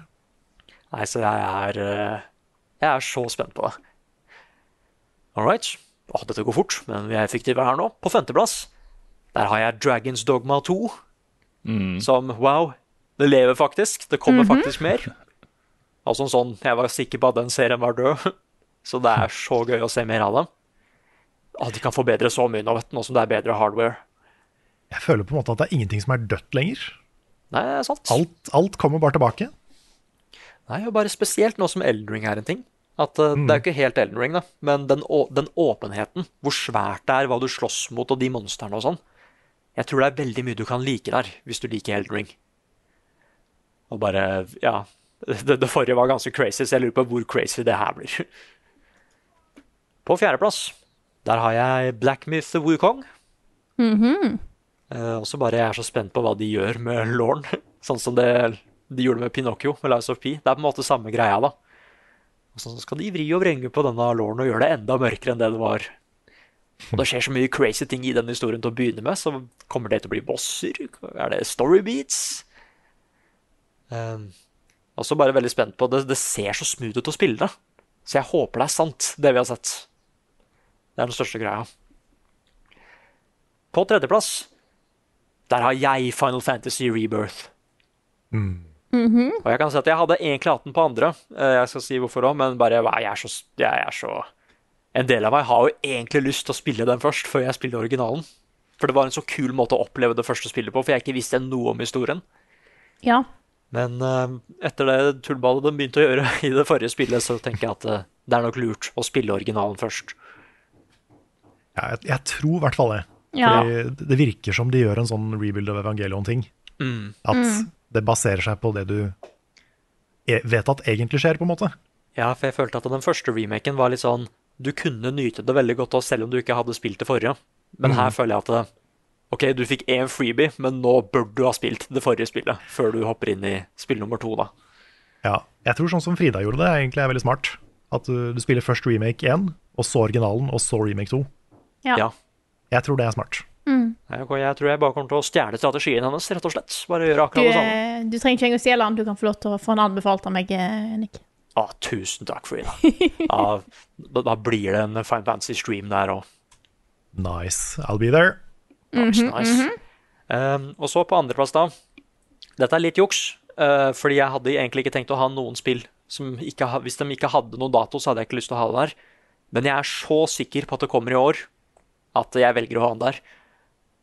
Nei, så jeg er eh, Jeg er så spent på det. All right. Åh, dette går fort, men vi er effektive her nå. På femteplass der har jeg Dragons Dogma 2. Som wow, det lever faktisk. Det kommer faktisk mer. Altså en sånn Jeg var sikker på at den serien var død, så det er så gøy å se mer av dem. Åh, de kan forbedre så mye nå, vet du, nå som det er bedre hardware. Jeg føler på en måte at det er ingenting som er dødt lenger. Nei, det er sant. Alt, alt kommer bare tilbake. Nei, og bare spesielt nå som Elden Ring er en ting. At eh, Det er jo ikke helt Elden Ring, da, men den, å, den åpenheten, hvor svært det er, hva du slåss mot, og de monstrene og sånn. Jeg tror det er veldig mye du kan like der, hvis du liker Elden Ring. Og bare Ja. Det, det forrige var ganske crazy, så jeg lurer på hvor crazy det her blir. På fjerdeplass, der har jeg Blackmyth Wukong. Eh, også bare jeg er så spent på hva de gjør med Lorne. Sånn som det, de gjorde med Pinocchio med Lies of P. Det er på en måte samme greia, da. Og så skal de vri og vrenge på denne Lorne og gjøre det enda mørkere enn det det var. Og det skjer så mye crazy ting i den historien til å begynne med, så kommer det til å bli bosser? Er det storybeats? Um, også bare veldig spent på det. Det ser så smooth ut å spille det. Så jeg håper det er sant, det vi har sett. Det er den største greia. På tredjeplass, der har jeg Final Fantasy Rebirth. Og jeg kan si at jeg hadde egentlig hatt den på andre, eh, jeg skal si hvorfor òg, men bare nei, jeg er så, jeg er så en del av meg har jo egentlig lyst til å spille den først, før jeg spiller originalen. For det var en så kul måte å oppleve det første spillet på, for jeg ikke visste noe om historien. Ja. Men eh, etter det tullballet de begynte å gjøre i det forrige spillet, så tenker jeg at eh, det er nok lurt å spille originalen først. Ja, jeg, jeg tror i hvert fall det. Ja. Fordi det- det virker som de gjør en sånn rebuild av Evangelion-ting. Mm. At Mm. det baserer seg på det du e- vet at egentlig skjer, på en måte. Ja, for jeg følte at den første remaken var litt sånn Du kunne nyte det veldig godt også, selv om du ikke hadde spilt det forrige. Men her føler jeg at eh, OK, du fikk én freebie, men nå bør du ha spilt det forrige spillet før du hopper inn i spill nummer to, da. Ja, jeg tror sånn som Frida gjorde det, egentlig er veldig smart. At du, du spiller først remake 1, og så originalen, og så remake 2. Ja. Ja. Jeg tror det er smart. Nei, ok, Jeg tror jeg bare kommer til å stjele strategien hennes, rett og slett. Bare gjøre Du, akkurat det samme. eh, du trenger ikke engang å stjele den, du kan få lov til å få den anbefalt av meg, eh, Nick. Ah, tusen takk, Frida. Ja, da, da blir det en Fine Fantasy stream der òg. Nice, I'll be there. Nice, nice. Eh, og så på andreplass, da. Dette er litt juks, eh, fordi jeg hadde egentlig ikke tenkt å ha noen spill som ikke ha, Hvis de ikke hadde noen dato, så hadde jeg ikke lyst til å ha det der. Men jeg er så sikker på at det kommer i år, at jeg velger å ha den der.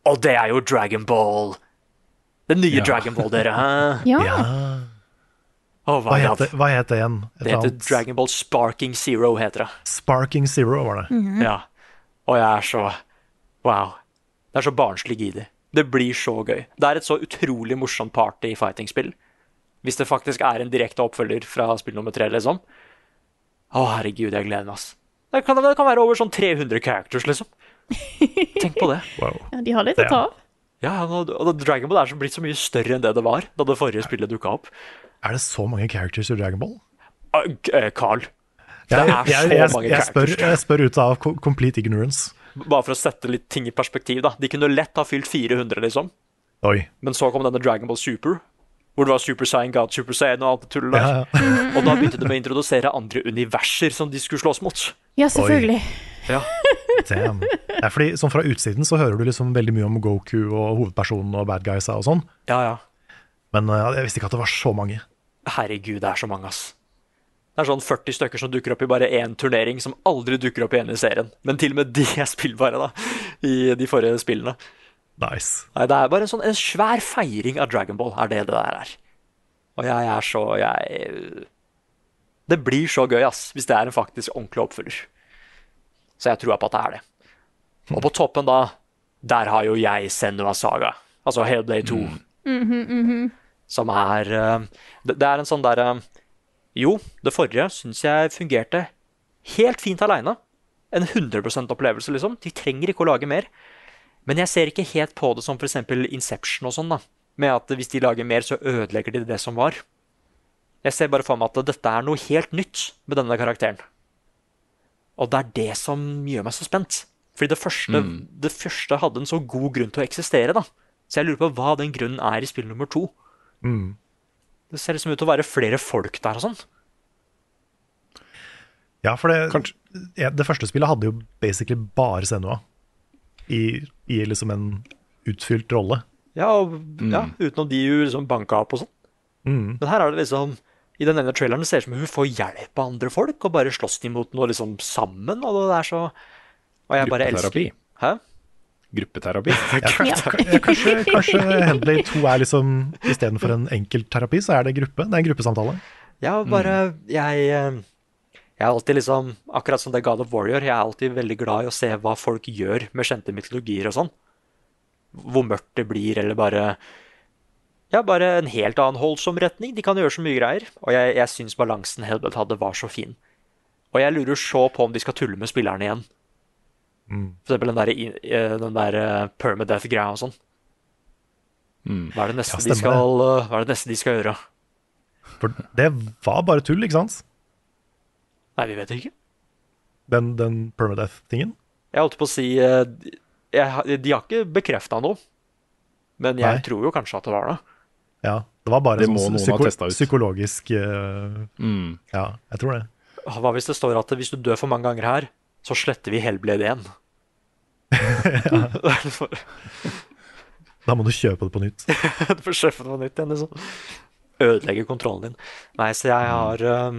Og det er jo Dragon Ball! Den nye Dragon Ball, dere. Hæ? Ja. Å, Hva hva het heter det, hva het det igjen? Et det? eller heter annet- Dragon Ball Sparking Zero, heter det. Sparking Zero, var det. Mm. Ja. Og jeg er så Wow. Det er så barnslig i det. Det blir så gøy. Det er et så utrolig morsomt party i fighting-spill. Hvis det faktisk er en direkte oppfølger fra spill nummer tre, liksom. Å, herregud, jeg gleder meg, ass. Det kan, det kan være over sånn 300 characters, liksom. Tenk på det. Wow. Ja, De har litt å ta av. Ja, og og Dragon Ball er så blitt så mye større enn det det var da det forrige spillet dukka opp. Er det så mange characters i Dragon Ball? Ah, g- eh, Carl, Jeg, Det er så jeg, jeg, mange jeg, spør, characters. jeg spør ut av ko- complete ignorance. bare for å sette litt ting i perspektiv, da. De kunne lett ha fylt 400, liksom. Oi. Men så kom denne Dragon Ball Super, hvor det var Super Saiyan, God Super Saiyan og alt det tullet der. Ja, ja. Og da begynte de å introdusere andre universer som de skulle slåss mot. Ja, selvfølgelig. Ja, Damn. Det er fordi, sånn Fra utsiden så hører du liksom veldig mye om Goku og hovedpersonen og bad guysa og sånn, ja. ja. men eh, jeg visste ikke at det var så mange. Herregud, det er så mange, ass. Det er sånn 40 stykker som dukker opp i bare én turnering, som aldri dukker opp igjen i serien. Men til og med de er spillbare, da, i de forrige spillene. Nice. Nei, det er bare en sånn en svær feiring av Dragon Ball, er det det der er. Og jeg er så Jeg Det blir så gøy, ass, hvis det er en faktisk ordentlig oppfølger. Så jeg tror på at det er det. Og på toppen, da, der har jo jeg Senua Saga. Altså Hale Day 2. Som er eh, Det det er en sånn derre Jo, det forrige syns jeg fungerte helt fint aleine. En 100 opplevelse, liksom. De trenger ikke å lage mer. Men jeg ser ikke helt på det som f.eks. Inception og sånn, da. Med at hvis de lager mer, så ødelegger de det som var. Jeg ser bare for meg at dette er noe helt nytt med denne karakteren. Og det er det som gjør meg så spent. Fordi det første, det første hadde en så god grunn til å eksistere, da. Så jeg lurer på hva den grunnen er i spill nummer to. Det ser liksom ut til å være flere folk der og sånn. Ja, for det, ja, det første spillet hadde jo basically bare Senua i, i liksom en utfylt rolle. Ja, og, ja, utenom de hun liksom banka opp og sånn. Men her er det liksom I den ene traileren ser det ut som hun får hjelp av andre folk, og bare slåss de mot noe liksom sammen, og det er så Og jeg bare elsker Gruppeterapi. Hæ? Gruppeterapi. Ja, Kanskje, kanskje Henley 2 er liksom Istedenfor en enkeltterapi, så er det gruppe. Det er en gruppesamtale. Ja, Mm. bare Jeg eh, jeg er alltid liksom, akkurat som det God of Warrior, jeg er alltid veldig glad i å se hva folk gjør med kjente mytologier og sånn. Hvor mørkt det blir, eller bare Ja, bare en helt annen holdsom retning. De kan gjøre så mye greier. Og jeg, jeg syns balansen Helbeth hadde, var så fin. Og jeg lurer så på om de skal tulle med spillerne igjen. Mm. For eksempel den der, i- eh, den der eh, permadeath-greia og sånn. Hva, er det Mm. Ja, neste de stemmer det. skal, eh, hva er det neste de skal gjøre? For det var bare tull, ikke sant? Nei, vi vet ikke. Den, den permadeath-tingen. Jeg holdt på å si eh, jeg, har- De har ikke bekrefta noe, men jeg Nei. tror jo kanskje at det var det. Ja, det var bare Det en må sånn noen ha psyko testet ut. psykologisk eh, Mm. Ja, jeg tror det. Hva hvis det står at hvis du dør for mange ganger her, så sletter vi Hellblade igjen? Du Da må du kjøpe det på nytt. får kjøpe noe nytt igjen, liksom. Ødelegge kontrollen din. Nei, så jeg har eh,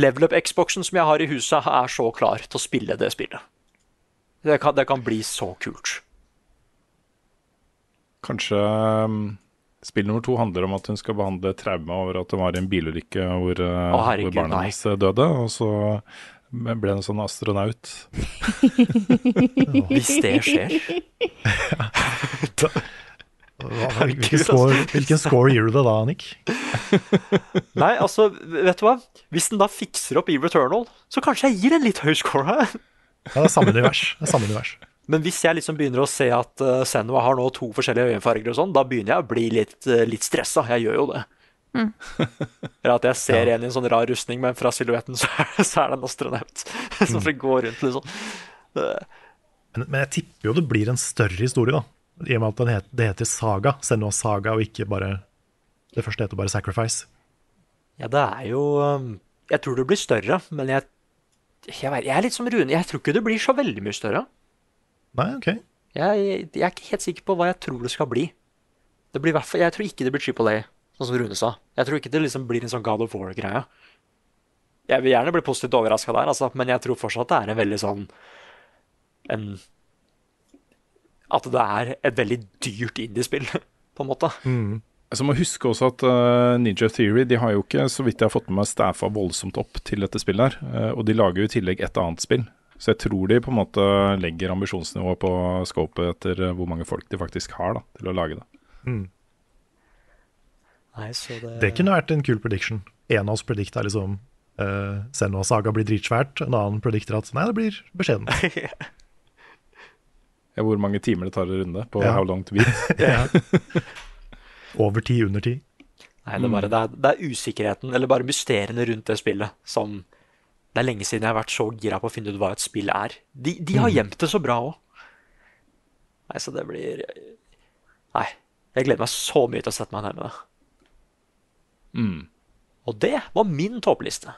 Level up-Xboxen som jeg har i huset, er så klar til å spille det spillet. Det kan, det kan bli så kult. Kanskje um, spill nummer to handler om at hun skal behandle traume over at hun var i en bilulykke hvor, uh, Å, herregud, hvor barna nei. hennes uh, døde, og så ble hun sånn astronaut. Hvis det skjer. Hva, Herregud, hvilken, score, altså. hvilken score gir du det da, Nick? Nei, altså, vet du hva? Hvis den da fikser opp i Returnal, så kanskje jeg gir en litt høy score her. Ja, det er samme univers. Det er samme univers. Men hvis jeg liksom begynner å se at eh, Senua har nå to forskjellige øyenfarger og sånn, da begynner jeg å bli litt, uh, litt stressa. Jeg gjør jo det. Eller at jeg ser en i en sånn rar rustning, men fra silhuetten så er, så er det en astronaut. Som går rundt liksom. Men, men jeg tipper jo det blir en større historie, da. I og med at den het, det heter Saga. Senua Saga, og ikke bare Det første heter bare Sacrifice. Ja, det er jo um, Jeg tror det blir større, men jeg jeg, vet, jeg er litt som Rune. Jeg tror ikke det blir så veldig mye større. Nei, OK. Jeg, jeg er ikke helt sikker på hva jeg tror det skal bli. Det blir i hvert fall, jeg tror ikke det blir Triple A, sånn som Rune sa. Jeg tror ikke det liksom blir en sånn God of War-greie. Jeg vil gjerne bli positivt overraska der, altså, men jeg tror fortsatt det er en veldig sånn en, At det er et veldig dyrt indiespill, på en måte. Så må jeg huske også at uh, Ninja Theory de har jo ikke, så vidt jeg har fått med meg, staffa voldsomt opp til dette spillet her. eh, og de lager jo i tillegg et annet spill. Så jeg tror de på en måte legger ambisjonsnivået på scopet etter eh, hvor mange folk de faktisk har da, til å lage det. Nei, så Det kunne vært en kul prediction. En av oss predikta liksom eh, Senua Saga blir dritsvært, en annen predikter at nei, det blir beskjedent. Ja, Hvor mange timer det tar å runde på Ja. How Long To Beat. Over ti, under ti. Nei, det er, bare, det, er, det er usikkerheten, eller bare mysteriene rundt det spillet, som Det er lenge siden jeg har vært så gira på å finne ut hva et spill er. De, de har gjemt det så bra òg. Nei, så det blir Nei. Jeg gleder meg så mye til å sette meg ned med det. Og det var min toppliste.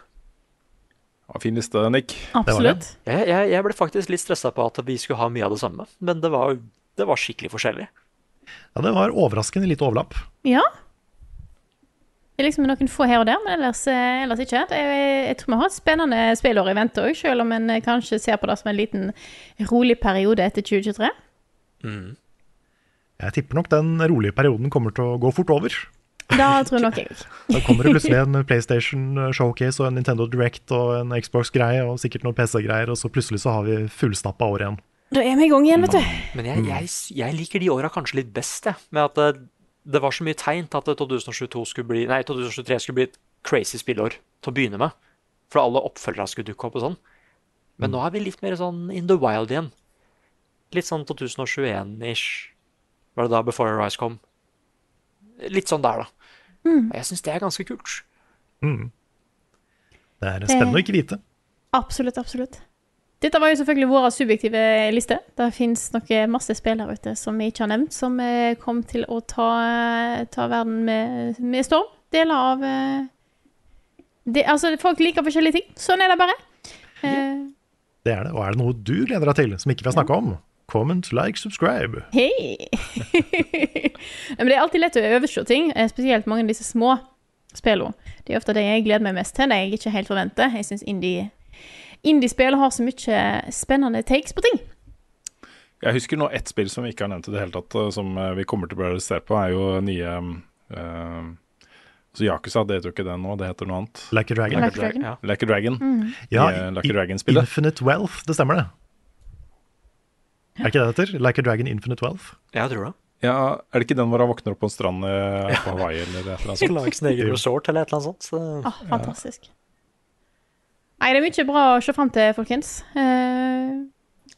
Ja, fin liste, Nick. Absolutt. Jeg, jeg, jeg ble faktisk litt stressa på at vi skulle ha mye av det samme, men det var, det var skikkelig forskjellig. Ja, det var overraskende lite overlapp. Ja. Det er liksom noen få her og der, men ellers, eh, ellers ikke. Det er, jeg tror vi har et spennende spillår i vente òg, selv om en eh, kanskje ser på det som en liten rolig periode etter 2023. Jeg tipper nok den rolige perioden kommer til å gå fort over. Da tror nok jeg òg. Da kommer det plutselig en PlayStation Showcase og en Nintendo Direct og en Xbox-greie og sikkert noen PC-greier, og så plutselig så har vi fullstappa år igjen. Da er vi i gang igjen, vet du. Men jeg, jeg, jeg liker de åra kanskje litt best, jeg. Med at det, det var så mye tegn til at eh, 2022 skulle bli, nei, 2023 skulle bli et crazy spillår til å begynne med. For alle oppfølgere skulle dukke opp og sånn. Men nå er vi litt mer sånn in the wild igjen. Litt sånn 2021-ish. Var det da Before Your Eyes kom? Litt sånn der, da. Og jeg syns det er ganske kult. Det er spennende å ikke vite. Absolutt, absolutt. Dette var jo selvfølgelig våre subjektive liste. Det fins nok masse spill der ute som vi ikke har nevnt, som eh, kom til å ta, eh, ta verden med, med storm. Deler av eh, det, Altså, folk liker forskjellige ting. Sånn er det bare. Eh, Det er det. Og er det noe du gleder deg til som ikke vi har snakka om? Comment, like, subscribe. Hei! Nei, Men det er alltid lett å overse ting, eh, spesielt mange av disse små spillene. Det er ofte det jeg gleder meg mest til, det jeg ikke helt forventer. Jeg syns indie, indie-spill har så mye spennende takes på ting. Jeg husker nå ett spill som vi ikke har nevnt i det hele tatt, eh, som eh, vi kommer til å bli arrestert på, er jo nye eh, Så Yakuza, det heter jo ikke det nå, det heter noe annet. Like a dragon. Like a dragon. Ja. Like a Dragon. Ja, i, eh, Like i- a Dragon-spillet. Infinite Wealth, det stemmer det. Er ikke det det heter? Like a dragon, infinite wealth. Jeg tror det. Ja, er det ikke den hvor han våkner opp på en strand eh, på Hawaii eller et eller annet sånt? Lage sin egen resort eller et eller annet sånt. Så. Ah, fantastisk. Nei, det er mye bra å se fram til, folkens. Eh,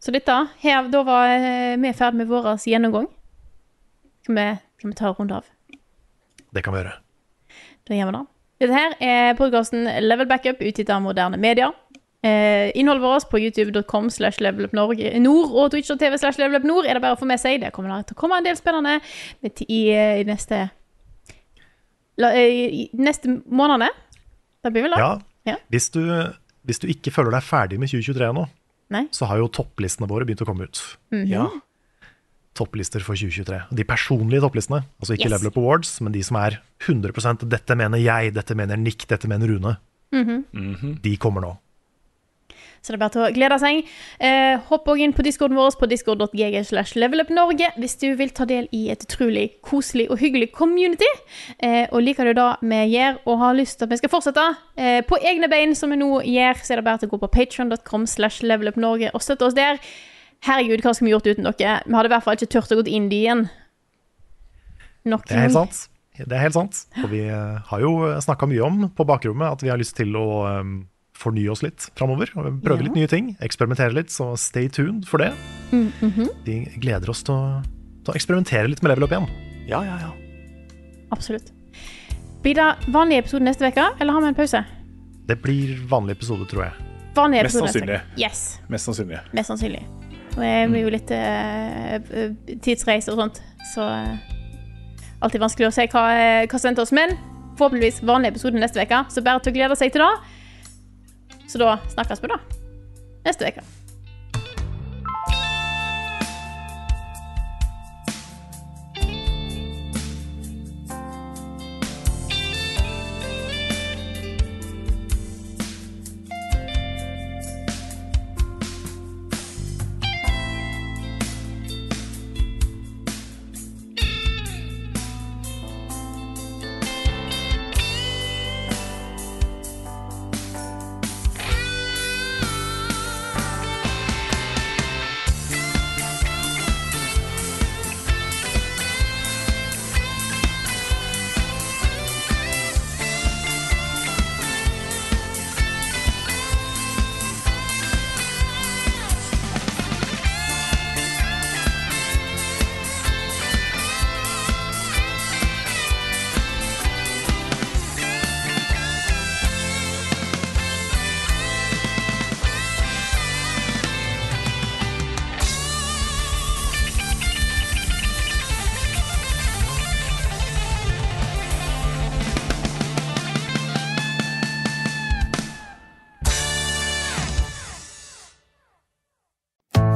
så dette her, Da var eh, vi ferdig med vår gjennomgang. Skal vi, skal vi ta en runde av? Det kan vi gjøre. Da gjør vi det. Dette her er podkasten Level Backup, utgitt av moderne medier. Eh, innholdet vårt på youtube.com slash levelupnorge- nord og twitch.tv slash levelupnord er det bare å få med seg. Det kommer det til å komme en del spennende med ti- i, eh, i neste la, eh, i neste månedene. Det blir vel da? Ja. Ja. Hvis, du, hvis du ikke føler deg ferdig med 2023 nå, Nei? så har jo topplistene våre begynt å komme ut. Ja. Topplister for 2023. De personlige topplistene. Altså ikke Yes. Level Up Awards, men de som er 100 'dette mener jeg', 'dette mener Nick', 'dette mener Rune'. Mm-hmm. De kommer nå. Så det er bare til å glede seg. Eh, hopp også inn på discorden vår på discord.gg slash levelupnorge hvis du vil ta del i et utrolig koselig og hyggelig community. Eh, og liker du det vi gjør og har lyst til at vi skal fortsette eh, på egne bein, som vi nå gjør, så er det bare til å gå på patreon.com slash levelupnorge og støtte oss der. Herregud, hva skulle vi gjort uten dere? Vi hadde i hvert fall ikke turt å gå inn dit igjen. Nok Det er en helt sant. Det er helt sant. Og vi eh, har jo snakka mye om på bakrommet at vi har lyst til å eh, fornye oss litt framover. Prøve Ja. litt nye ting, eksperimentere litt, så stay tuned for det. Mm-hmm. Vi gleder oss til å, til å eksperimentere litt med level up igjen. ja, ja, ja. Absolutt. Blir det vanlig episode neste uke, eller har vi en pause? Det blir vanlig episode, tror jeg. Vanlig Mest episode neste uke. Yes. Mest sannsynlig. Mest sannsynlig. Og jeg blir jo litt eh, eh, tidsreise og sånt, så eh, alltid vanskelig å se hva, eh, hva som venter oss. Men forhåpentligvis vanlig episode neste uke, så bare til å glede seg til det. Så da snakkes vi, da. Neste uke.